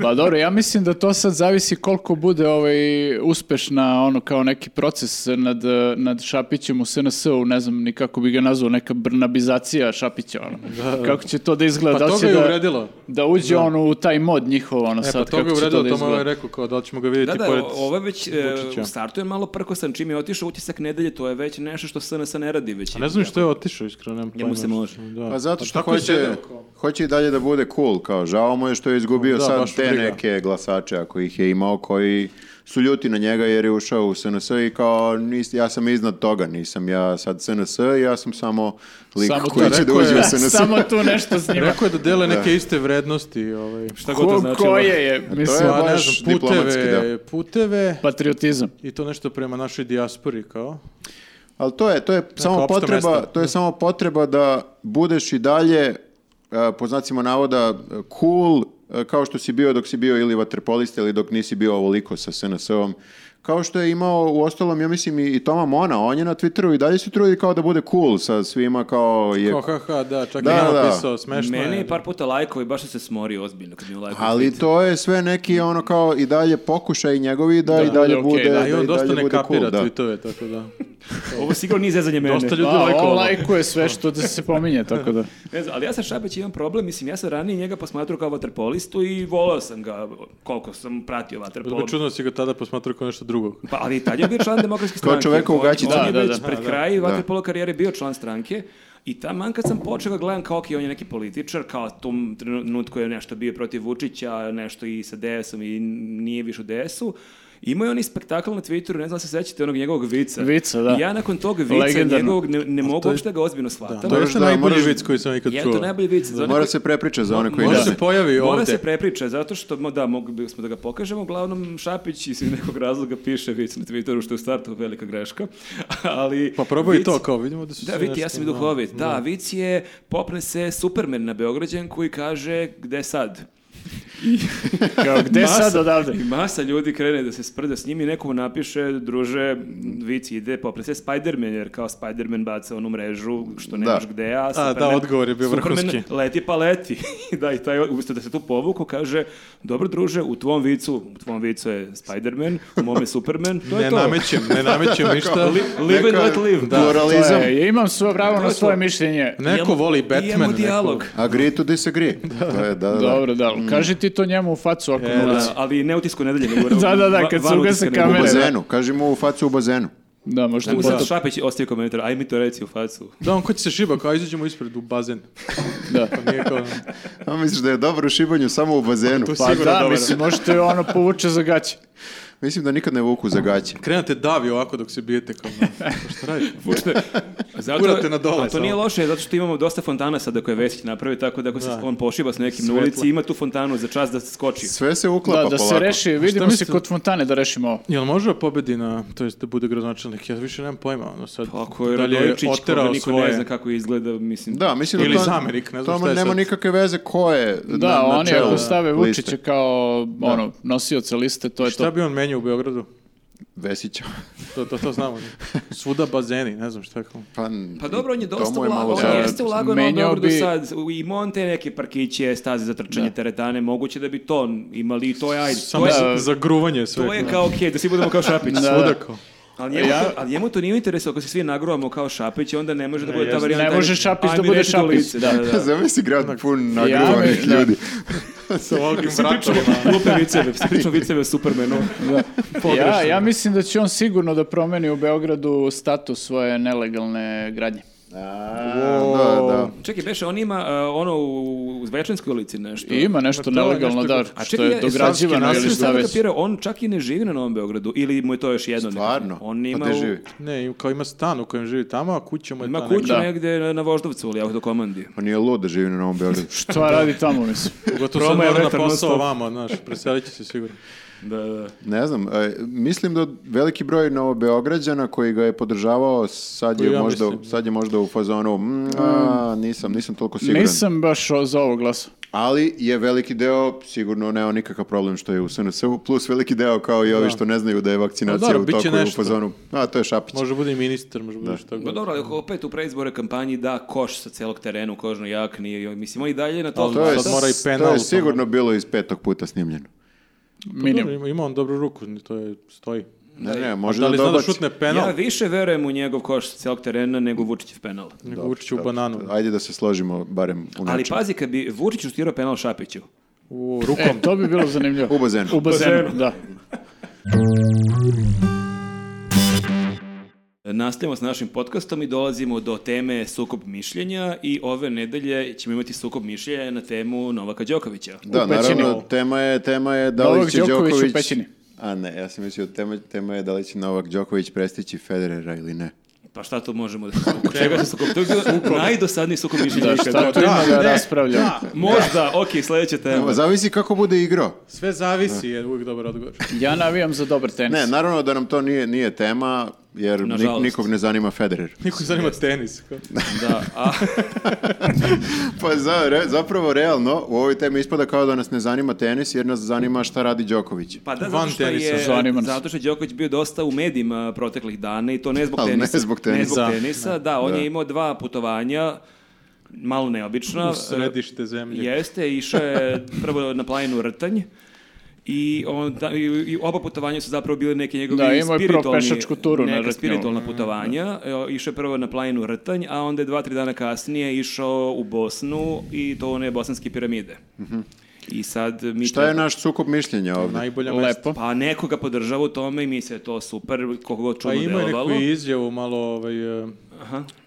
Pa dobro, ja mislim da to sad zavisi koliko bude ovaj uspešna ono kao neki proces nad, eh, nad Šapićem u SNS-u, ne znam ni kako bi ga nazvao, neka brnabizacija Šapića, ono. Kako će to da izgleda? Pa da li to će ga je da, uvredilo. da uđe ono u taj mod njihov, ono E, sad, pa to ga je kako će to uvredilo, da to mu je izgleda? rekao, kao da li ćemo ga vidjeti Da, da, pored... o- ovo je već e, Vučića. u startu je malo prkosan. Čim je otišao utisak nedelje, to je već nešto što SNS ne radi već. A ne znam što je otišao, iskreno, nemam Njemu se može. Da. Pa zato što tako je hoće, sedeo, kao. hoće i dalje da bude cool, kao žao mu je što je izgubio Da, baš sad te briga. neke glasače ako ih je imao koji su ljuti na njega jer je ušao u SNS i kao nis, ja sam iznad toga, nisam ja sad SNS, ja sam samo lik Samo to koji će da rekao uđe je. u SNS. Samo tu nešto s njima. Rekao je da dele neke iste vrednosti, ovaj, Šta god to znači. koje je, [laughs] To mislim, je pa, ne baš znam, diplomatski, da. puteve, puteve patriotizam. i to nešto prema našoj dijaspori, kao. Ali to je, to je samo opšta potreba, mesta. to je samo potreba da budeš i dalje e, po znacima navoda e, cool e, kao što si bio dok si bio ili vaterpolista ili dok nisi bio ovoliko sa SNS-om. Kao što je imao u ostalom, ja mislim, i, i Toma Mona, on je na Twitteru i dalje se trudi kao da bude cool sa svima, kao je... Kao, ha, ha, da, čak Da, da, i da. ja napisao, smešno Meni je pa- je. par puta lajkao i baš sam se smorio ozbiljno kad mi je lajkao. Ali tweet. to je sve neki ono kao i dalje pokušaj njegovi da, i dalje okej, bude, da, i da, A i i on dosta dalje ne bude cool, kapira da. tweetove, tako da. Ovo sigurno nije zezanje mene. Dosta ljudi Pa, lajkovalo. on lajkuje sve što da se pominje, tako da. Ne znam, ali ja sa Šapić imam problem, mislim, ja sam ranije njega posmatrao kao vaterpolistu i volao sam ga koliko sam pratio Bilo vaterpolo. bi čudno da si ga tada posmatrao kao nešto drugo. Pa, ali i tad je bio član [laughs] demokratske Kao stranke. čoveka u On- gaćici. On je Da, da, već da. pred kraj vaterpolo karijere bio član stranke. I taman kad sam počeo ga gledam kao ok, on je neki političar, kao u tom trenutku je nešto bio protiv Vučića, nešto i sa DS-om i nije više u DS-u. Imao je onaj spektakl na Twitteru, ne znam da se sećate onog njegovog vica. Vica, da. I ja nakon tog vica Legendarno. njegovog ne, ne mogu uopšte da ga ozbiljno shvatam. To je Moraš što da- najbolji moraš- vic koji sam ikad Ja to čuo. najbolji vic. za one Mora koji- se prepriča za one koji Može se ne znaju. pojavi Mora se ovde. prepriča, zato što, mo- da, mogli smo da ga pokažemo, uglavnom Šapić iz nekog razloga piše vic na Twitteru, što je u startu velika greška, [laughs] ali... Pa probaj i vic- to, kao vidimo da su Da, se vidite, ja nešto- ono- sam i duhovit. Da, vic je, popne se Superman na Beograđan koji kaže, gde sad? Kao, gde Masa- sad odavde? I masa ljudi krene da se sprda s njim i nekomu napiše, druže, vic ide, popne se Spiderman, jer kao Spiderman baca onu mrežu, što nemaš Da. gde, a A, da, odgovor je bio vrhunski. Superman leti pa leti. [laughs] da, i taj, umjesto da se tu povuku, kaže, dobro druže, u tvom vicu, u tvom vicu je Spider-Man, u mome je Superman, to je Ne to. namećem, ne namećem ništa. Live and Neka- let live. Da. Pluralizam. To je, ja imam svoje pravo je na to. svoje mišljenje. Neko voli I Batman. imamo neko- dijalog. Agree to [laughs] disagree. To je, da, da, da. Dobro, da, Mm. ali kaži ti to njemu u facu ako mu E, Da, ulazi. ali ne utisku nedelje, nego Da, da, da, kad se ugase U kamere. bazenu, kaži mu u facu u bazenu. Da, možda Tako mu sad da. Šapeć ostavi komentar, aj mi to reci u facu. Da, on ko će se šiba, kao izađemo ispred u bazen. Da. Pa nije [laughs] kao... A Pa misliš da je dobro u šibanju samo u bazenu? Tu si- Pa Sigurno da, dobar. mislim, možete ono povuče za gaće. Mislim da nikad ne vuku za gaće. Krenate davi ovako dok se bijete kao... ono, Pa šta radiš? Pušte. Zato, Gurate na dole a to samo. nije loše, zato što imamo dosta fontana sada koje je Vesić napravi, tako da ako se on pošiba s nekim na ulici, ima tu fontanu za čas da se skoči. Sve se uklapa Da, da Pa, polako. se reši, vidimo se mislite? kod fontane da rešimo ovo. Jel može da pobedi na, to jest da bude gradonačelnik? Ja više nemam pojma, ono sad. Pa, Ako je da li Radojičić, koga oterao niko ne zna kako izgleda, mislim... Da, mislim da Ili to- Zamerik, ne znam to šta je nema sad. nikakve veze ko je Da, na, na oni čelu ako stave liste. Vučića kao ono, nosioca liste, to je Šta to. bi on menio u Beogradu? Vesića. To, to, to znamo. ne? Svuda bazeni, ne znam šta kao. Pa, Pa dobro, on je to dosta mu je malo ulagao, on žao. jeste [laughs] ulagao na Menjao Beogradu bi- sad, imao on te neke parkiće, staze za trčanje, teretane, moguće da bi to imali i to je, ajde, Samo to je, za- za gruvanje sve. to je kao okej, da svi budemo kao Šapić. Svuda kao. Ali njemu, Ja- to, ali njemu to nije interes, ako se svi nagruvamo kao Šapić, onda ne može da bude ta jasno. varijanta. Ne može Šapić Aj da mi bude reći do Šapić, lice, da. da, da, [laughs] da. Zamisli grad pun Ja nagrovanih bi- da. ljudi. Sa ovakvim Svi pričamo glupe viceve, svi pričamo viceve o Supermanu. Ja, ja mislim da će on sigurno da promeni u Beogradu status svoje nelegalne gradnje. A, da, da. Čekaj, Beše, on ima a, ono u, u Zvečanskoj ulici nešto. I ima nešto to je nelegalno, nešto- da, A što čekaj, je ja- dograđivano Savski ili Nisam šta sad već. kapirao, on čak i ne živi na Novom Beogradu, ili mu je to još jedno. nekako? Stvarno? On Pa ima, gde u- živi? Ne, kao ima stan u kojem živi tamo, a kuća mu je ima ta kuću Da. negde na, na Voždovcu ili autokomandi. On nije lud da živi na Novom Beogradu. Šta radi tamo, mislim? Pogotovo sad Roma je mora na vetar non posao stop. vama, znaš, preselit će se sigurno. Da, da. Ne znam, e, mislim da veliki broj novobeograđana koji ga je podržavao sad je, Ja možda, mislim. sad je možda u fazonu "Mm, a, nisam, nisam toliko siguran. Nisam baš o- za ovo glasao. Ali je veliki deo sigurno nema nikakav problem što je u SNS-u, plus veliki deo kao i ovi što ne znaju da je vakcinacija Pa dobro, u toku bit će je u nešto. fazonu. A, to je Šapić. Može bude i ministar, može bude šta No god. dobro, ali ako opet u preizbore kampanji da koš sa celog terenu, u kožnoj jakni, i- mislim, on i dalje je na to. Ali To je, Sad mora i s- penal to u je tom. sigurno bilo iz petog puta snimljeno. Pa Minimum. dobro, ima- ima on dobru ruku, to je, stoji. Ne, ne, može Da da, li zna da dobaci. šutne penal? Ja više verujem u njegov koš sa celog terena nego u Vučićev penal. Nego Vučić u bananu. Ajde da se složimo barem u Ali nečemu. pazi, kad bi Vučić uštirao penal Šapiću, U rukom. E, to bi bilo zanimljivo. U bazenu. U bazenu, da. Nastavljamo s našim podcastom i dolazimo do teme sukob mišljenja i ove nedelje ćemo imati sukob mišljenja na temu Novaka Đokovića. Da, u pećini. naravno, tema je, tema je da Novak li će Đoković u Đoković... pećini. A ne, ja sam mislio, tema, tema je da li će Novak Đoković prestići Federera ili ne. Pa šta tu možemo da oko čega se sukob? To je bio najdosadniji sukob mišljenja. Da, ikad. šta tu ima da ne, raspravljamo? Možda, okej, sledeća tema. Zavisi kako bude igrao. Sve zavisi, je uvijek dobar odgovor. Ja navijam za dobar tenis. Ne, naravno da nam to nije, nije tema, jer nik- Nažalost. nikog ne zanima Federer. [laughs] Niko ne zanima tenis. kao. Da, a, Pa za- re- zapravo, realno, u ovoj temi ispada kao da nas ne zanima tenis, jer nas zanima šta radi Đoković. pa da, zato Van što je, tenisa, zanima nas. zato što je Đoković bio dosta u medijima proteklih dana i to ne zbog Ali ne tenisa. zbog tenisa. tenisa, da, on je imao dva putovanja, malo neobična. U središte zemlje. Jeste, išao je prvo na planinu Rtanj i, onda, i, i oba putovanja su zapravo bile neke njegove Da, imao je prvo spiritualni, pešačku turu na neka Rtnju. spiritualna putovanja. E, Išao je prvo na planinu Rtanj, a onda je dva, tri dana kasnije išao u Bosnu i to one bosanske piramide. Mhm. I sad mi Šta je naš sukup mišljenja ovdje? Najbolja mesta. Lepo. Pa neko ga podržava u tome i mi se to super, koliko god Pa čudno ima i delovalo. neku izjavu malo ovaj, e,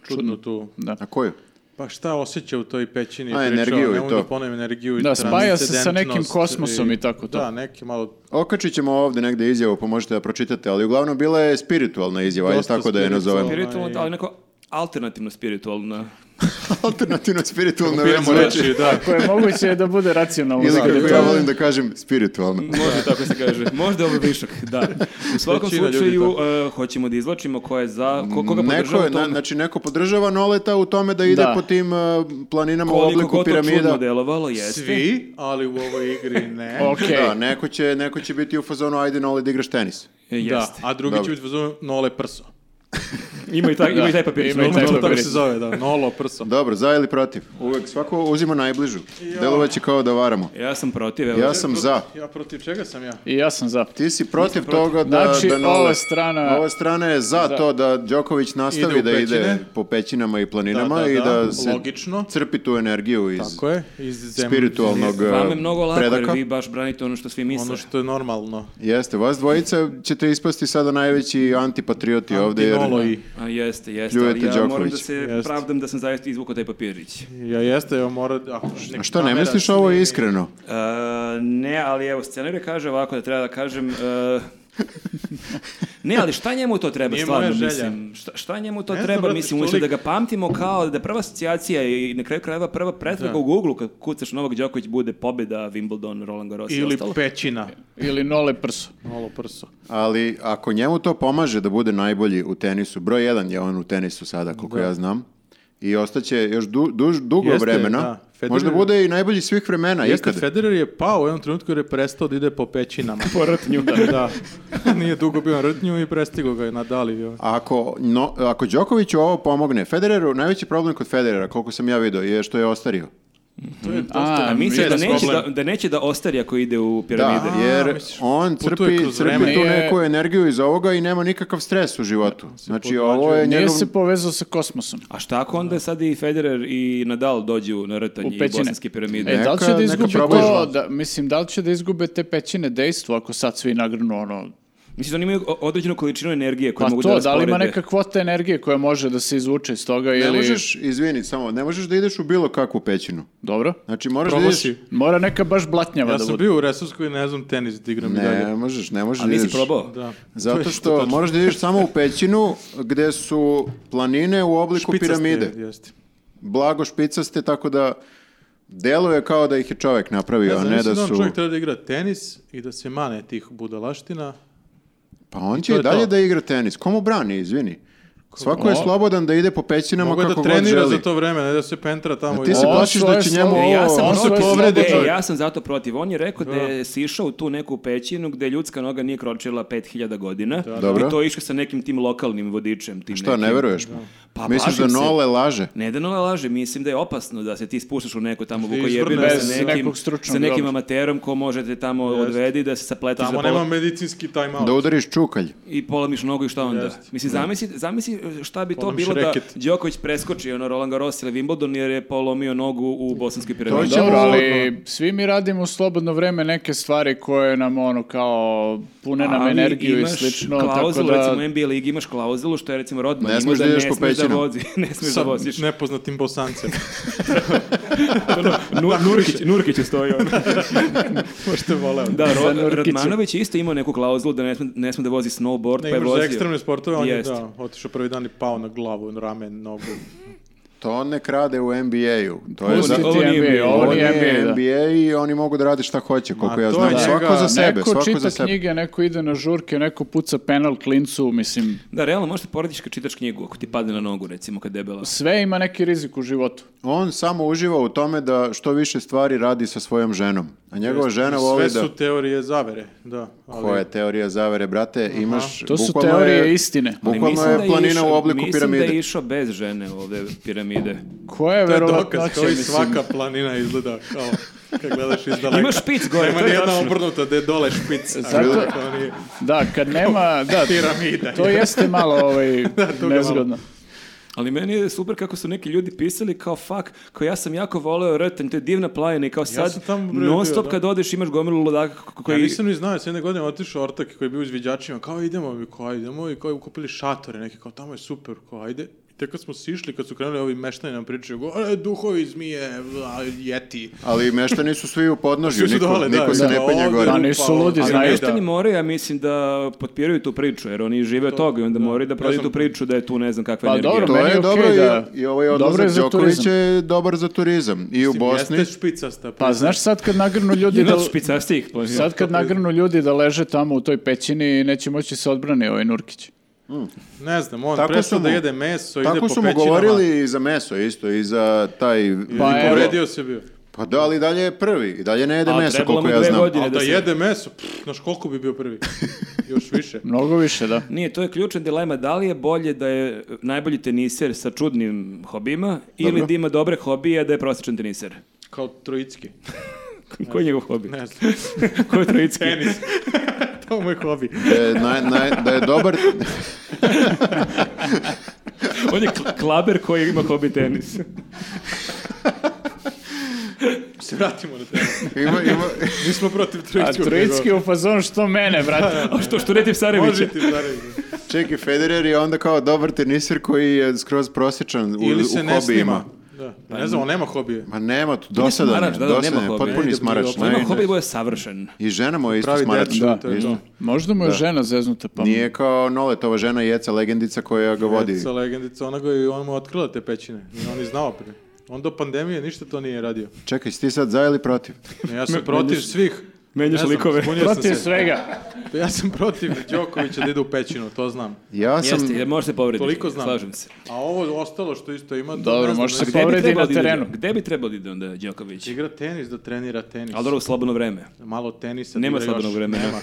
čudnu tu. Na koju? Pa šta osjeća u toj pećini? A, pričao, energiju i ne mogu to. da ponovim energiju i Da, spaja se sa nekim transcendentnost kosmosom i tako to. Da, neki malo... Okačit ćemo ovdje negdje izjavu, pa možete da pročitate, ali uglavnom bila je spiritualna izjava, ajde Dosta tako da je nazovemo. spiritualna. Spiritualno, Onaj- ali neko alternativno spiritualno. [laughs] Alternativno spiritualna Biramo već reči, znači, [laughs] da. Ako je moguće da bude racionalno. Ili da, kako da, ja to- volim da kažem, spiritualna. Može tako se kaže. Možda ovo višak, da. U svakom Većina ljudi slučaju, e, hoćemo da izvlačimo ko je za, ko, koga Neko podržava je, u tome. na, znači, neko podržava Noleta u tome da ide Da. po tim uh, planinama u Koliko obliku god to čudno piramida. delovalo, jeste. Svi, ali u ovoj igri [laughs] ne. Okej. [laughs] Da, neko će, neko će biti u fazonu, ajde Nole da igraš tenis. E, Da, Jeste. a drugi Dobro. će biti fazonu nole prso. Ima i taj, ima i taj papir. Ima i taj Nolo, tako papirić. se zove, da, nolo prso. Dobro, za ili protiv? Uvek, svako uzima najbližu. Delovaće kao da varamo. Ja sam protiv, evo. Ja sam za. Ja protiv čega sam ja? I ja sam za. Ti si protiv toga da, Znači, da ova Nole... strana- Ova strana je za, to da Đoković nastavi Ide u da ide pećine. po pećinama i planinama Da, da, i da, da, se logično. crpi tu energiju iz... Tako je, iz zemlje. Spiritualnog Vama je eh, mnogo lako, predaka. jer vi baš branite ono što svi misle. Ono što je normalno. Jeste, vas dvojica ćete ispasti sada najveći antipatrioti ovdje. Jer... Nolo i... A jeste, jeste, Pljujete ali ja moram Đoković. da se Jeste. pravdam da sam zaista izvukao taj papirić. Ja jeste, ja mora... A, A šta, ne misliš ovo iskreno? E, ne, ali evo, scenario kaže ovako da treba da kažem... e, ne, ali šta njemu to treba Nije stvarno, moja želja. mislim? Šta, šta njemu to Ne znam, treba, brate, mislim, što umjesto da lik- ga pamtimo kao da prva asocijacija i na kraju krajeva prva pretraga u Google-u kad kucaš Novak Đoković bude pobjeda Wimbledon, Roland Garros i Ili ostalo. pećina. Ili nole prso. Nolo prso. Ali ako njemu to pomaže da bude najbolji u tenisu, broj jedan je on u tenisu sada, koliko ja znam, i ostaće još du- duž- dugo Jeste, vremena, da. Federer- možda bude i najbolji svih vremena Jeste, ikad. Federer je pao u jednom trenutku jer je prestao da ide po pećinama. Po rtnju. da, [laughs] da. Nije dugo bio na rtnju i prestigo ga je nadali. ovaj. A Ako, no, ako Đokoviću ovo pomogne, Federeru, najveći problem kod Federera, koliko sam ja vidio, je što je ostario. A misliš da Jeste, neće da, problem. da neće da ostari ako ide u Da, piramide? jer misliš, on putuje crpi, kroz crpi vreme. tu Nije- neku energiju iz ovoga i nema nikakav stres u životu. Znači, ovo je Nije njegov... se povezao sa kosmosom. A šta ako onda sad i Federer i Nadal dođu na U rtanje i pećine. bosanske piramide? E, da li će Neka- da neka izgube probaju. to, da, mislim, da li će da izgube te pećine dejstvo ako sad svi nagrnu ono... Mislim da oni imaju o- određenu količinu energije koju Pa mogu da to, da li ima rasporede. neka kvota energije koja može da se izvuče iz toga Ne ili... možeš, izvini, samo, ne možeš da ideš u bilo kakvu pećinu. Dobro. Znači, moraš da Promaši. ideš... Mora neka baš blatnjava Ja da sam bude. bio u Resurskoj i ne znam tenis da igram i Ne dalje. možeš, ne možeš A da nisi ideš. probao? Da. To je Zato što tačno. moraš da ideš samo u pećinu gde su planine u obliku Špicaste, piramide. Jeste. Blago špicaste, tako da Deluje kao da ih je čovek E, napravio, a ne da Mislim da on su... čovjek treba da igra tenis i da se mane tih budalaština. Pa on to će i je dalje to. da igra tenis. Komu brani, izvini? Svako je O. slobodan da ide po pećinama Mogu je kako da god trenira želi. za to vreme, ne da se pentra tamo. A ti se On plašiš da svoje će njemu slobo- ovo... E, ja sam on se protiv, povredi e, čovjek. ja sam zato protiv. On je rekao da je sišao u tu neku pećinu gde ljudska noga nije kročila 5000 godina. Dobro. I to je išao sa nekim tim lokalnim vodičem. Tim Šta, ne nekim. veruješ mu? Pa Misliš da plašim se. Nole laže? Ne da Nola laže, mislim da je opasno da se ti spuštaš u neko tamo Ti vukojebinu izvrneš sa se nekim, nekog stručnog, sa nekim dobro. amaterom ko može te tamo odvedi, da se sapletiš Tamo za pola- nema medicinski time out. Da udariš čukalj. i polomiš nogu i šta onda? Jeste. Mislim, zamisli, zamisli šta bi Polomiš to bilo reket. da Đoković preskoči ono Roland Garros ili Wimbledon jer je polomio nogu u bosanskoj piramidi. će- Dobro, ćemo- ali svi mi radimo u slobodno vreme neke stvari koje nam ono kao pune nam Ali energiju i imaš slično, tako klauzulu, da... recimo u NBA ligi imaš klauzulu što je recimo rodba. Ne smeš da ne da ideš po smeš da pećinama. vozi, ne smeš da Sa voziš. nepoznatim bosancem. [laughs] Ono, Nu- Nurkić, Nurkić je stoji ono. [laughs] Pošto voleo. Da, Za Ro- Nurkića. Radmanović je isto imao neku klauzulu da ne sme, ne sme da vozi snowboard, Ne pa je imaš vozio. za ekstremne sportove, on je Jeste. da, otišao prvi dan i pao na glavu, ramen, nogu. To on ne krade u NBA-u. To je Pusti za... Pustiti ovo nije NBA, bio. ovo nije NBA, da. NBA i oni mogu da rade šta hoće, koliko Ma, ja to znam. je Svako njega- za sebe, neko svako za čita sebe. knjige, neko ide na žurke, neko puca penal klincu, mislim, Da, realno možeš da poradiš kad čitaš knjigu, ako ti padne na nogu recimo kad debela. sve ima neki rizik u životu. On samo uživa u tome da što više stvari radi sa svojom ženom. A njegova žena voli Sve da... su teorije zavere, da. Ali, Koja je teorija zavere, brate? Imaš... To su bukvalno teorije je- istine. Ali Bukvalno mislim da je planina išao- u obliku Mislim da piramide. je išao bez žene ovde piramide. Koja je To je dokaz, verovatnoća, kao i mislim? svaka planina izgleda kao kad gledaš iz daleka. Ima špic gore, Nema to je nijedna tačno. obrnuta gde je dole špic. a Zato- dole kao nije. Da, kad nema, da, Piramida. to jeste malo ovaj, malo. nezgodno. Ali meni je super kako su neki ljudi pisali kao fuck, kao ja sam jako voleo Rtanj, to je divna planina i kao sad sam tamo bre non stop bio, da. kad odeš imaš gomilu ludaka k- k- koji... Ja nisam ni znao, s jedne godine otišao ortak koji je bio u izviđačima, kao idemo, i kao idemo, i kao kupili šatore neke, kao tamo je super, kao ajde. I tek kad smo sišli, kad su krenuli ovi meštani nam pričaju, go, e, duhovi, zmije, bla, jeti. Ali meštani su svi u podnožju, Svi su niko, dole, da, niko se da, ne da, penje ovde gore. Pa nisu upalo, ludi, ali znaju. ne, Meštani moraju, ja mislim, da potpiraju tu priču, jer oni žive od toga i onda moraju da prodaju sam- tu priču da je tu ne znam kakva Pa energija. dobro, To Meni je je dobro okej i, da- i ovaj dobro je odlazak za Đokovića turizam. je dobar za turizam. I u Mislim, Bosni. Jeste špicasta. Pa znaš sad kad nagrnu ljudi Ima da... špicastijih planina. Sad kad nagrnu ljudi da leže tamo u toj pećini, neće moći se odbrani ovaj Nurkić. Ne znam, on Tako prestao su da mu- jede meso, ide po Tako su mu pećinama. govorili i za meso isto, i za taj... Pa I evo. povredio se bio. Pa da, ali dalje je prvi. I dalje ne jede A meso, trebalo koliko mu ja dve znam. godine. Ali da da se- [laughs] jede meso, pff, znaš koliko bi bio [laughs] prvi? Još više. Mnogo više, da. Nije, to je ključna dilema. Da li je bolje da je najbolji teniser sa čudnim hobijima ili da ima dobre hobije, a da je prosječan teniser? Kao trojicki. Koji je njegov hobi? Ne znam. Koji je trojicki? Tenis. [laughs] to je moj hobi. Da je, naj- naj- da je dobar... [laughs] On je kl- klaber koji ima hobi tenis. Se vratimo na temu. Ima, ima, Mi smo protiv A trojicki. Trojicki u fazonu što mene, brate. A Pa što, što Retif Sarević? Može ti zareći. čekaj, Federer je onda kao dobar teniser koji je skroz prosječan u, Ili se u ne snima. hobijima. Da. Ne znam, on nema hobije. Ma nema, tu, dosadan je, smarač, da, da, nema dosadan je, hobija. potpuni Ide smarač. bilo- Ima naj- hobi bude savršen. I žena mu je isto Pravi smarač. dečko, to je isto. to. Možda mu je žena zeznuta pa... Nije kao Noletova žena Jeca legendica koja ga vodi. Sa legendica onoga i on mu otkrila te pećine. I on je znao prije. On do pandemije ništa to nije radio. Čekaj, si ti sad za ili protiv? [laughs] Ja sam protiv svih. menjaš Ne znam, likove. zbunio sam Protiv se. svega. Ja sam protiv Đokovića da ide u pećinu, to znam. Ja sam... Jeste, jer može se povrediti. Toliko znam. Slažem se. A ovo ostalo što isto ima... to Dobro, ne znam, može ne se znam. Gde bi Povredi trebao na da ide? terenu. Gde bi trebao da ide onda Đoković? Igra tenis da trenira tenis. Ali dobro, u slobodno vreme. Malo tenisa. Nema da igra još. slobodnog vremena. Nema.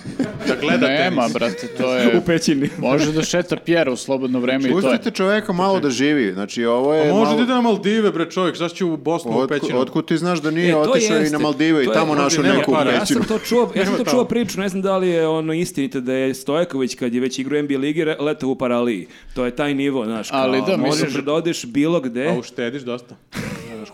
Da gleda Nema, tenis. brate, to je... pećini. Može da šeta pjera u slobodno vreme i to je. Pustite čoveka malo da živi. Znači, ovo A je može malo... Pa da ide na Maldive, bre, čovjek, zašto će u Bosnu u Otku, pećinu? otkud ti znaš da E, nije to otišao i jeste. na Maldive i To je- tamo Ovdje našao nema neku para. Ja pećinu. sam to čuo, ja sam Nema to tamo. čuo priču, ne znam da li je ono istinito da je Stojaković kad je već igrao NBA ligi re- letao u paraliji. To je taj nivo, znaš, kao, Ali da, možeš mislim- da odeš bilo gde. A uštediš dosta.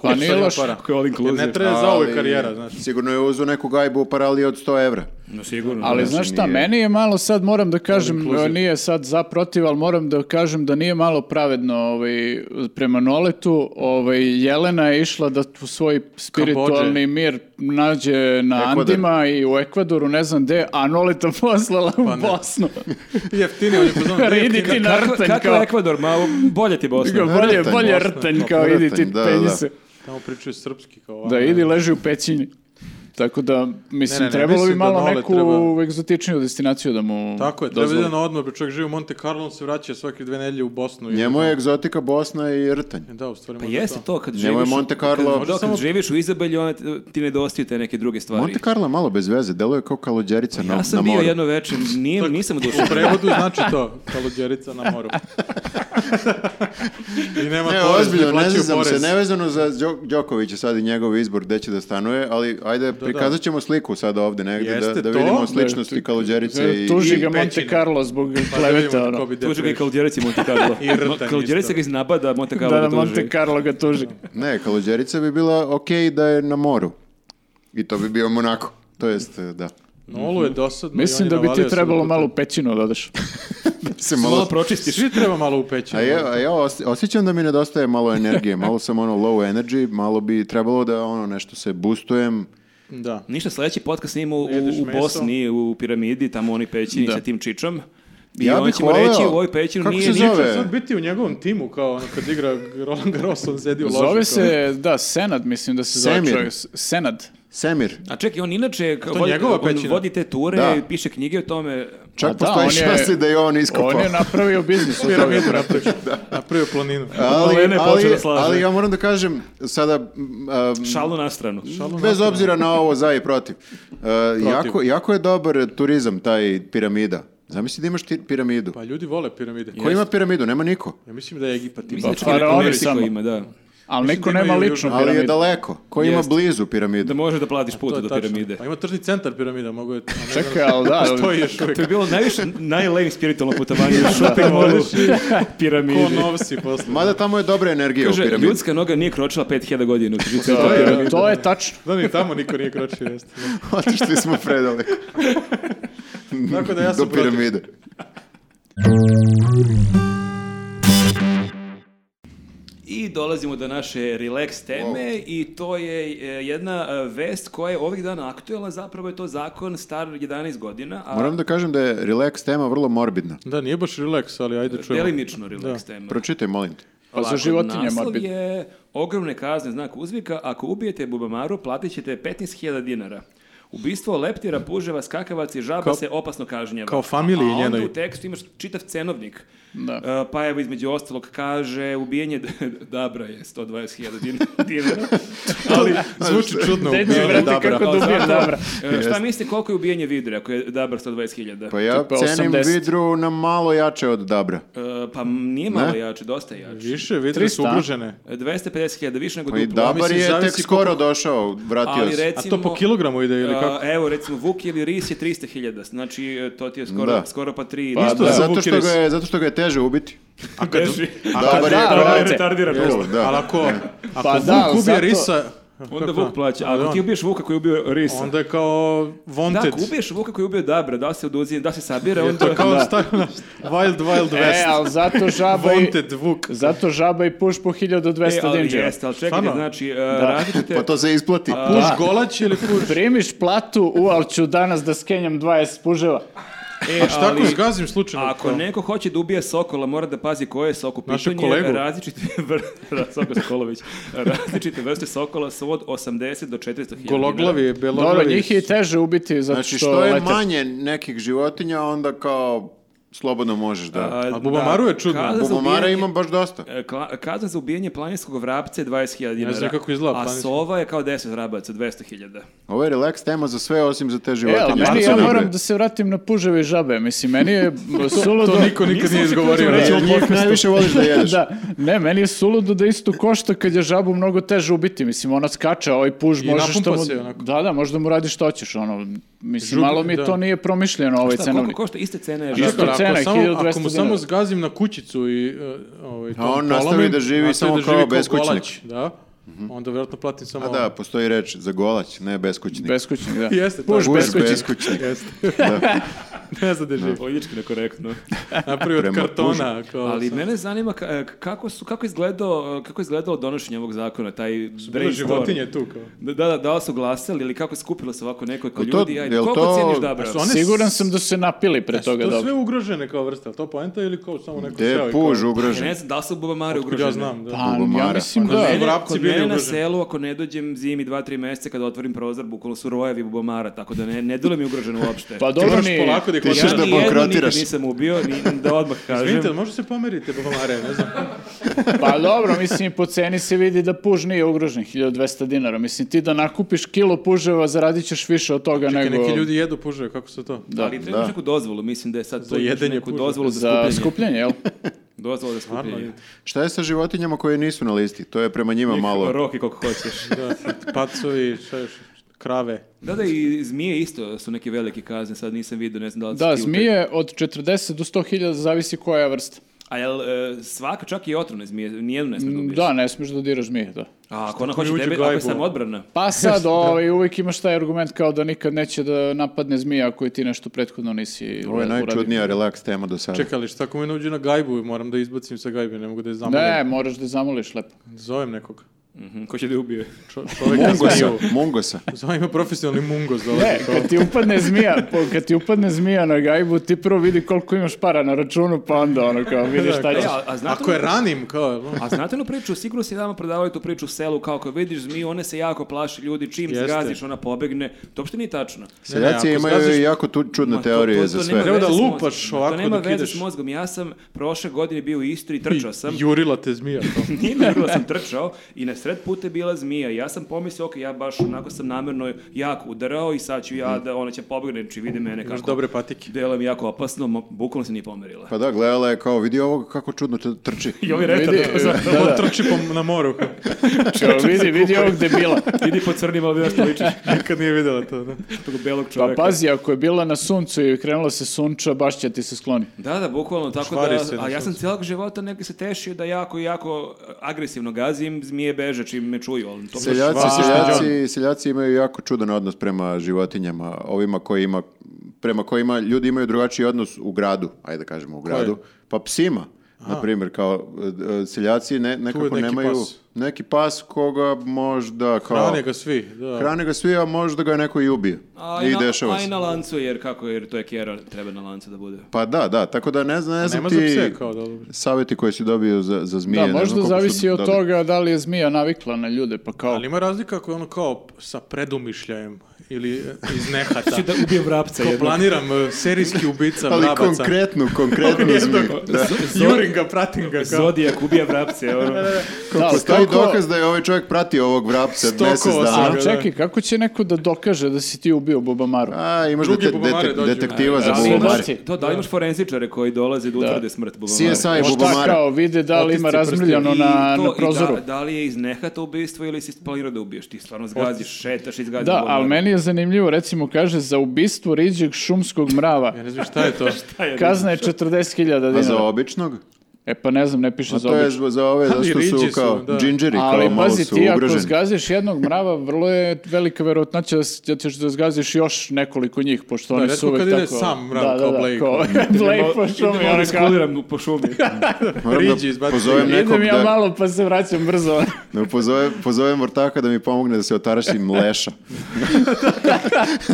Pa nije loš. Kako je all inclusive. Ne treba za uvek karijera, znaš. Sigurno je uzeo neku gajbu u parali od 100 evra. No sigurno. Ali Znači, znaš šta, nije- meni je malo sad, moram da kažem, inclusive. nije sad za protiv, ali moram da kažem da nije malo pravedno ovaj, prema Noletu. Ovaj, Jelena je išla da tu svoj spiritualni mir nađe na Ekvador. Andima i u Ekvadoru, ne znam gde, a Noleta [laughs] poslala u Pa ne. [laughs] Bosnu. Jeftini, on je pozvan. Idi ti na Kako, rtanj kako kao... Ekvador, ma bolje ti Bosna. Bolje, Rtanj, bolje Bosna, rtanj pa kao idi ti rtanj, da, da, penji se. Tamo pričaju srpski kao ovako. Da idi leži u pećini. Tako da, mislim, Ne, ne, ne, trebalo bi mislim da malo Nole neku treba- egzotičniju destinaciju da mu Tako je, treba dozvoli. ide na odmor, pa čovjek živi u Monte Carlo, on se vraća svake dve nedelje u Bosnu. i- Njemu je egzotika Bosna i Rtanj. Da, u stvari Pa možda jeste to, kad Njemu je živiš... Monte Carlo- Kad, Možda da, kad samo- živiš u Izabelju, ona ti- ti nedostaju te neke druge stvari. Monte Carlo je malo bez veze, deluje kao kalođerica na, Ja sam na bio moru. jedno večer, nije, nisam U odušao. prevodu znači to, kaludjerica na moru. I nema Ne, porez, ozbiljno, ne plaćaju znam se, porez. nevezano za Đo- Đokovića sad i njegov izbor gde će da stanuje, ali ajde, prikazat ćemo sliku sad ovde negde, da, Jeste da to. vidimo Da, sličnosti kalođerice i... E, Tuži ga i Monte pećina. Carlo zbog Pa da vidimo kleveta, ko ono. bi gde Tuži ga i prešao. Kaludjerica i Monte Carlo. I Rtanj Mo- Kaludjerica isto. ga iznabada, Monte Carlo Da, ga da, tuži. Monte Carlo ga tuži. Ne, kalođerica bi bila okej da je na moru. I to bi bio Monako. To jest, e, da. Nolu je dosadno. i on Mislim je da bi ti navalio se trebalo puta. malo u pećinu da odeš. Se Malo malo... pročistiš. Svi treba malo u pećinu. A ja, a ja os- osjećam da mi nedostaje malo energije, malo sam ono low energy, malo bi trebalo da ono nešto se boostujem. Da. Ništa, sledeći podcast snimamo u, Jedeš u meso. Bosni, u piramidi, tamo oni pećini Da. sa tim čičom. I Ja ja bih ćemo voleo. reći u ovoj pećini Kako nije se ni- zove? Neće sad biti u njegovom timu, kao ono kad igra Roland Garros, on sedi u loži. kao- Zove [laughs] se, da, Senad, mislim da se zove Semir. čovjek. S- Senad. Semir, A čekaj, on inače to vodi, njegova on pećina? vodi te ture, Da. i piše knjige o tome. čak A da, postoji on je- šanse da je on iskopao. On je napravio biznis od toga, Piramidu brate. napravio. Napravio planinu. ali, Malene počeo ali, da slaže. ali ja moram da kažem, sada, m, a, m, Šalu na stranu. bez obzira na ovo za i protiv, e, jako, jako je dobar turizam taj piramida. Zamisli da imaš ti piramidu. Pa ljudi vole piramide. Ko ima piramidu? Nema niko. Ja mislim da je Egipat ima. Mislim da Pa, čak i neko faraoni Meksiko samo. ima, da. Ali neko da nema imaju lično južno- Ali je piramide. daleko. Ko ima Jeste. blizu Da piramidu? možeš da platiš put To je do tačno. piramide. Pa ima tržni centar piramida, mogu je... Čekaj, ali da, Stoji još uvijek. To je bilo najviše, najlame spiritualno putovanje [laughs] u shopping mallu Ko piramide. novsi posle. Mada tamo je dobra energija u Kaže, piramidi. ljudska noga nije kročila 5000 godina. u Tižicu. to, je, to je tačno. Da ni tamo niko nije kročio, jeste. [laughs] Otišli smo predaleko. [laughs] [laughs] Tako da ja sam Do protiv. piramide. I dolazimo do naše relax teme i to je e, jedna e, vest koja je ovih dana aktuelna, zapravo je to zakon star 11 godina, a Moram da kažem da je relax tema vrlo morbidna. Da, nije baš relax, ali ajde čujemo. delimično relax tema. Pročitaj, molim te. A za Ovako, životinje Naslov morbid. je ogromne kazne znak uzvika, ako ubijete bubamaru platit ćete 15.000 dinara. Ubistvo leptira, puževa, skakavac i žaba Kao- se opasno kažnjava. kao familiji A onda njenoj. u tekstu imaš čitav cenovnik. Da. E, pa evo između ostalog kaže ubijenje d- [laughs] dabra je 120.000 din- dinara. Ali Zvuči čudno. Deci, ubijanje brate, Dabra. kako dobijem dobra. e, šta mislite koliko je ubijenje vidre ako je dabra 120.000? Pa ja Tipa cenim 80. vidru na malo jače od dabra. E, pa nije malo Ne. jače, dosta je jače. Više, vidite su 300. ugrožene. E, 250.000 više nego Pa i duplo. dabar mislim, je tek zavisi skoro došao, vratio Ali se. A recimo... to po kilogramu ide ili A, kako? evo, recimo, Vuk ili Ris je 300.000, znači e, to ti je skoro, Da. skoro pa 3. Pa Da, Da, zato, Vuk što Iris. ga je, zato što ga je teže ubiti. a beži. Dabar da, je brate. kao- je retardiran. Jeste, da. Ali ako, ako Pa Vuk da, ali ubije zato- Risa... Onda kako? Vuk plaća. A Ako ti ubiješ Vuka koji je ubio Risa. Onda je kao Da, wanted. ako ubiješ Vuka koji je ubio Dabra, da se oduzi, da se sabira, Je to onda... kao Da. stavljeno Wild Wild E, West. ali zato žaba i... Wanted Vuk. Zato žaba i puš po 1200 E, ali dinđera. jeste, ali čekajte, Stvarno? znači, e, različite... Pa to se isplati. Puš golać ili puš... Primiš platu, u, ali ću danas da skenjam 20 puževa. E, A šta ako ali- zgazim slučajno? Ako Kao- neko hoće da ubije Sokola, mora da pazi koje je Sok u Našeg pitanju. kolegu. Različite, [laughs] vr- Ra- Soko Sokolović, različite vrste Sokola su od 80 do 400 hiljada. Gologlavi je, Dobro, beloglavi. njih je i teže ubiti zato što, Znači, što je lete. manje nekih životinja, onda kao slobodno možeš da... A Bubamaru je čudno. kazna za Bubamara ubijanje- ima baš dosta. E, kla- Kazna za ubijanje planinskog vrapca je 20.000 dinara. Ne znam kako izgleda A planinski. sova je kao 10 vrabaca, 200.000. Ovo je relax tema za sve, osim za E, te ali životinje. Znači, Što meni se ja ne moram brine? da se vratim na puževe i žabe. Mislim, meni [laughs] je suludo... To niko nikad nije izgovorio. Jer Reći Reći ćemo Znači, njih najviše voliš da [laughs] jedeš. da, ne, meni je suludo da isto košta kad je žabu mnogo teže ubiti. Mislim, ona skače, a ovaj puž I može što napumpa mu... se onako. Da, da, možda mu radi što hoćeš. Ono, mislim, Žug- malo mi da. to nije promišljeno, ovaj Šta, koliko cenovnik. košta? Iste cene je Isto, žaba. Isto ako cena, samo- 1200 Ako mu samo dinara. zgazim na kućicu i... Uh, ovaj, tom on nastavi polomim, da živi nastavi samo da živi kao beskućnik. Mhm. golać, Da, onda vjerojatno platim samo... ono. A Pa da, postoji reč za golać, ne beskućnik. Beskućnik, da. Jeste, puž tako. Puš beskućnik. [laughs] beskućnik. Jeste. ne znam da živi. Politički nekorektno. Napravi od Prema kartona. Kao, Ali sam- mene zanima ka- e, kako, su, kako, je izgledao, kako je izgledalo donošenje ovog zakona, taj Bile brainstorm. životinje tu kao. Da, da, da li su glasali ili kako je skupilo se ovako nekoliko Jel to- ljudi? Ajde, jel koliko to- ceniš Dabra? Jesu one Siguran sam da su se napili pre E, To toga dobro. sve ugrožene kao vrste, ali to poenta ili kao samo neko Gde seo je i kao- E, puž Ja ugrožen? ne znam, da li su bubamari Otkud ugroženi? Ja znam, da. Pa, ja Bubamara. mislim Pa ne da... znam, vrapci Kod mene na ugroženi. selu, ako ne dođem zimi 2-3 meseca kada otvorim prozor, bukvalno su rojevi bubamara, tako da ne, ne delo mi ugroženo uopšte. [laughs] Pa dobro moraš ni... polako da ih ti ćeš ja odlaziš. da ni jedno nikad bankrotiraš. nisam ubio, ni, da odmah kažem. [laughs] Izvinite, ali možda se pomerite, bubamare, ne znam. Pa dobro, mislim, po ceni se vidi da puž nije ugrožen, 1200 dinara. Mislim, ti da nakupiš kilo puževa, zaradit ćeš više od toga Čekaj, nego... neki ljudi jedu puže, kako se to? Da, ali trebaš da. neku dozvolu, mislim da je sad Za to imaš jedenje neku puža. dozvolu za, Za skupljanje. skupljenje, jel? Dozvolu za skupljanje. Stvarno, Šta je sa životinjama koje nisu na listi? To je prema Pa njima malo. Roki koliko hoćeš. Da, pacovi, šta još, krave. Da, da, i zmije isto su neke velike kazne, sad nisam vidio, ne znam da li Da, si ti u- zmije od 40 do 100 hiljada zavisi koja je vrsta. A jel, e, svaka, čak i otrovne zmije, nijednu ne smije da ubiješ. Da, ne smiješ da diraš zmije, da. A ako ona hoće uđu tebe, gajbu? ako je samo odbrana. Pa sad, ovaj, uvijek imaš taj argument kao da nikad neće da napadne zmija ako je ti nešto prethodno nisi ovaj, Ovo je uradio. najčudnija relaks tema do sada. Čekaj, ali šta ako mi nauđe na gajbu, moram da izbacim sa gajbe, ne mogu da je zamolim. Ne, moraš da je zamoliš [laughs] lepo. Zovem nekog. Mhm, ko će da je ubije? Čo, čoveka Mungosa, zmiju. Mungosa. Zovem profesionalni mungos dolazi. Ne, kad ti upadne zmija, po, kad ti upadne zmija na gajbu, ti prvo vidi koliko imaš para na računu, pa onda ono kao vidiš šta E, ćeš. a, a znate Ako je li- ranim, kao... ono, A znate onu priču, sigurno si dama prodavali tu priču u selu, kao ako vidiš zmiju, one se jako plaši ljudi, čim Jeste. zgaziš, ona pobegne. To uopšte nije tačno. Seljaci ako imaju zgaziš- jako tu, čudne Ma, to- teorije to- za to sve. nema Treba da veze s lupaš mozgom. ovako To nema dok veze ideš. s mozgom. Ja sam prošle godine bio u Istri i trčao sam. Jurila te zmija. kao. [laughs] Nije mi bilo, sam trčao i na sred puta je bila zmija. Ja sam pomislio, ok, ja baš onako sam namjerno jako udarao i sad ću ja da ona će pobegne, či vidi mene Imaš kako. dobre patike. Delo mi jako opasno, mo- bukvalno se nije pomerila. Pa da, gledala je kao, vidi ovog kako čudno tr- trči. I ovi retar, Vidi, za- da, da, On trči po, na moru. kao vidi, vidi ovog debila. idi po crnima, ovdje [laughs] nešto ličiš, Nikad nije videla to. Da. tog belog [laughs] Pa čoveka. pazi, ako je bila na suncu i krenula se sunča, baš će ti se skloni. Da, da, bukvalno tako Švari da, se na a ja sam suncu. cijelog života neki se tešio da jako, jako eh, agresivno gazim, zmije beže čim me čuju, ali to Seljaci, Švar- seljaci, seljaci imaju jako čudan odnos prema životinjama, ovima koji ima, prema kojima ljudi imaju drugačiji odnos u gradu, ajde da kažemo u gradu, pa psima. Na primjer, kao e, e, seljaci ne, nekako neki nemaju pas. neki pas koga možda kao... Hrane ga svi. Da. Hrane ga svi, a možda ga neko i ubije. A I na, dešava a i se. na lancu, jer kako, jer to je kjera, treba na lancu da bude. Pa da, da, tako da ne znam, ne znam Nema ti za pse kao da... savjeti koje si dobio za, za zmije. Da, ne znam možda koliko su zavisi od dobri. toga da li je zmija navikla na ljude, pa kao... Ali ima razlika ako je ono kao sa predumišljajem ili e, iz [laughs] nehata. Hoću da ubijem vrapca Kao jednog. planiram e, serijski ubica Ali vrabaca. konkretnu, konkretnu zmiju. [laughs] Da. Jurim ga, pratim ga. Kao. Zodijak ubija vrapce, ono. Da, ali Postoji kako- dokaz da je ovaj čovjek pratio ovog vrapca Stokova mjesec sam dana. ga. Ali čekaj, kako će neko da dokaže da si ti ubio Boba Maru? A, imaš Drugi dete- bubamare detek- dođu. detektiva Pa za A, ali bubamare. doći. To da li imaš forenzičare koji dolaze da utvrde smrt bubamara? CSI Možda bubamara. ovaj, kao vide da li ima Otisci razmrljano I na, to- na i prozoru. Da, da li je iz nehata ubistvo ili si planirao da ubiješ? Ti stvarno zgaziš, šetaš, izgaziš. Da, bubamara. ali meni je zanimljivo, recimo kaže, za ubistvo riđeg šumskog [laughs] mrava Ja ne znam šta je [laughs] to. kazna je 40.000 A Pa za dinara. običnog? E pa ne znam, ne piše A za to je obično. za za ove, zato što riđi su su, kao da. džinđeri, kao Ali malo pazi, su ti ako ugroženi. zgaziš jednog mrava, vrlo je velika verovatnoća da s- da ćeš da zgaziš još nekoliko njih, pošto oni su retko uvek kad tako... ide sam mrav kao Blake. [laughs] Blake po šumi, Idemo ono da kao... skuliram po [laughs] šumi. Moram da riđi izbacuju. pozovem nekog Idem ja da, malo pa se vraćam brzo. da pozovem, pozovem vrtaka da mi pomogne da se otarašim leša.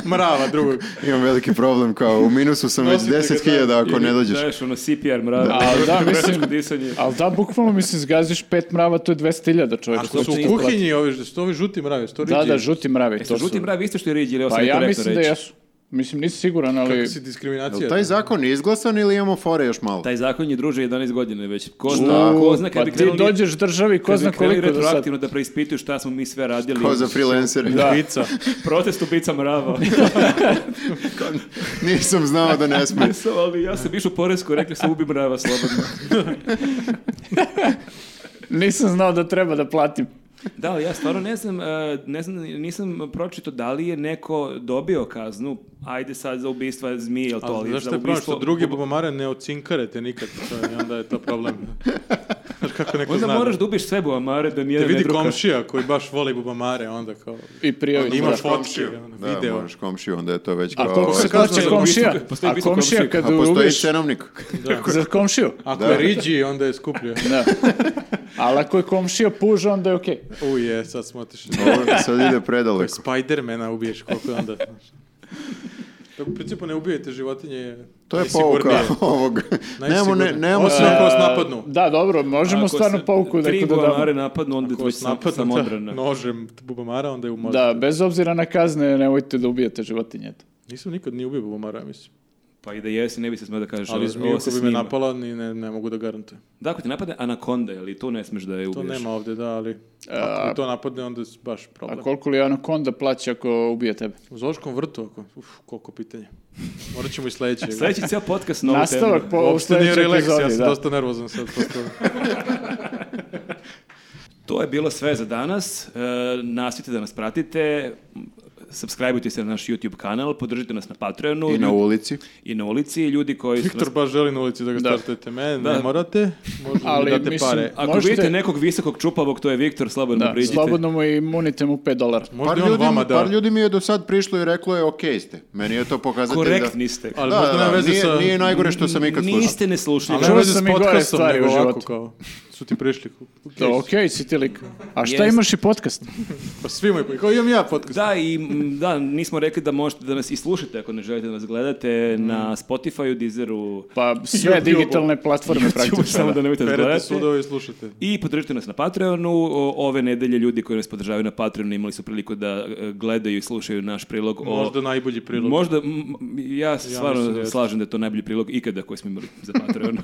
Mrava [laughs] drugog. Imam veliki problem, kao u minusu sam već Nosite ga, 10.000 ako ne dođeš. Znaš, ono CPR mrav. Ali da, [laughs] mislim... Teško disanje. Ali da, bukvalno mislim, zgaziš pet mrava, to je 200.000 čovječ. A što uopće su u isplati. kuhinji ovi, što su ovi žuti mravi, što riđi. Znači, Da, da, žuti mravi. Jesu To žuti su... mrav isto što je riđi, ili ovo Pa sam ja nekorektno mislim da reći? jesu. Mislim, nisi siguran, ali... Kako si Jel diskriminacija? taj zakon je izglasan ili imamo fore još malo? Taj zakon je druže 11 godina već. Ko zna, U, ko zna pa kad bi ti krenuli... dođeš državi, ko kad bi zna krenuli koliko do sad. retroaktivno da preispituju šta smo mi sve radili. Kao za freelanceri. Da. Pizza. Protest ubica [laughs] mrava. [laughs] Nisam znao da ne smije. Sam, ali ja sam išao u Poresku, rekli su ubi mrava slobodno. Nisam znao da treba da platim. Da, ali ja stvarno ne znam, e, ne znam, nisam pročito da li je neko dobio kaznu, ajde sad za ubistva zmije, jel to, A, ali znaš za šta je problem, što ubistvo- drugi bubamare ne ocinkare te nikad, to je, i onda je to [laughs] problem. Znaš kako neko Onda zna. moraš da da ubiš sve bubamare, da te nijedan ne vidi druka. komšija koji baš voli bubamare, onda kao... I prijavi. Imaš Da. fotke, ono, Da, video. moraš komšiju, onda je to već A kao- ovaj, koliko se Ovo je plaća kazna za komšija? ubistvo- postoji A ubistvo komšija komšije. kad A postoji ubiješ cenovnik. [laughs] za komšiju? Ako Da. je riđi, onda je skuplje. Da. Ali ako je komšija puža, onda je okej. U je, sad smo otišli. Ovo sad ide predaleko. [laughs] Spidermana ubiješ koliko je onda. znaš. Tako u principu ne ubijajte životinje. To je najsigurnije. pouka ovog. Nemamo, [laughs] ne, Najsigurnije. nemamo Osim se- ako vas napadnu. Da, dobro, možemo Ako stvarno se pouku tri neku da damo. bubamare napadnu, onda je Ako tvoj vas sam, [laughs] napadnu samodrana. ta- nožem t- bubamara, onda je u možda. Da, bez obzira na kazne, nemojte da ubijate životinje. eto. Nisam nikad ni ubio bubamara, ja mislim. Pa i da jesi, ne bi se smeo da kažeš, Ali ovo- zmiju ovo ako se bi me snima. napala, ni ne, ne mogu da garantujem. Da, ako ti napadne anakonda, je li to ne smeš da je ubiješ? To nema ovde, da, ali ako mi to napadne, onda je baš problem. A koliko li anakonda plaća ako ubije tebe? U Zološkom vrtu, ako, uf, koliko pitanja. Morat ćemo i sledeće. [laughs] Sledeći ceo podcast na ovu Nastavak temu. po u Uopšte nije sledećoj relax, ja epizodi, sam da. dosta nervozan sad. Posto... To je bilo sve za danas. E, nastavite da nas pratite. Subscribeujte se na naš YouTube kanal, podržite nas na Patreonu I na ljudi- ulici. i na ulici. Ljudi koji su Viktor nas... baš želi na ulici da ga Da. startujete mene, Da. ne morate, možete Ali, mi date mislim, pare. Ako Možete- vidite nekog visokog čupavog, to je Viktor, slobodno Da, priđite. slobodno mu i munite mu 5 dolara. Par Možda i on ljudi, vama da... par ljudi mi je do sad prišlo i reklo je okej ste. Meni je to pokazatelj da... Korektni ste. Ali da, možda da, nema veze nije, sa... nije najgore što sam ikad slušao. Niste neslušljivi. Ali nema Čuo veze s sam i gore podcastom, stvari u nego ovako životu. kao... Su ti prišli. Okay. Da, okej, si ti lik. A šta Jest. imaš i podcast? Pa svi imaju, kao imam ja podcast. Da, i m, da, nismo rekli da možete da nas i slušate ako ne želite da nas gledate Mm. na Spotify-u, Deezeru, Pa sve YouTube-u. digitalne platforme Pa, [laughs] praktično. samo da nemojte da nas Perete gledate. sudove i slušate. I podržite nas na Patreonu. O- Ove nedelje ljudi koji nas podržavaju na Patreonu imali su priliku da e, gledaju i slušaju naš prilog. O, Možda najbolji prilog. Možda, m, m, ja se Ja stvarno mislim da jeste. slažem da je to najbolji prilog ikada koji smo imali za [laughs] Patreon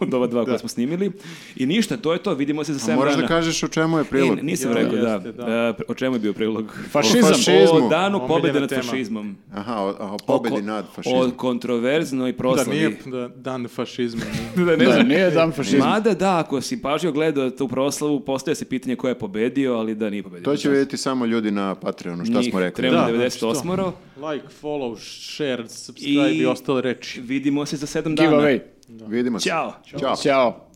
od ova dva koje smo snimili. I ništa, to je to, vidimo se za 7 dana. Moraš da kažeš o čemu je prilog. E, nisam Ja, rekao, jeste, da. da. E, o čemu je bio prilog? Fašizam. O fašizmu. O danu Omiljena pobede nad tema. fašizmom. Aha, o, o O pobedi ko- nad O fašizmom. kontroverznoj Da, proslavi. nije da, dan fašizma. nije. Da, ne Da, znam. nije dan fašizma. Mada da, ako si pažljivo gledao tu proslavu, postoje se pitanje ko je pobedio, ali da nije pobedio. To će vidjeti samo ljudi na Patreonu, šta Njih smo rekli. Treba Da, znači 98 ro Like, follow, share, subscribe i, I- ostale reči. Vidimo se za 7 dana. Giveaway. Vidimo se. Ćao. Ćao. Ćao.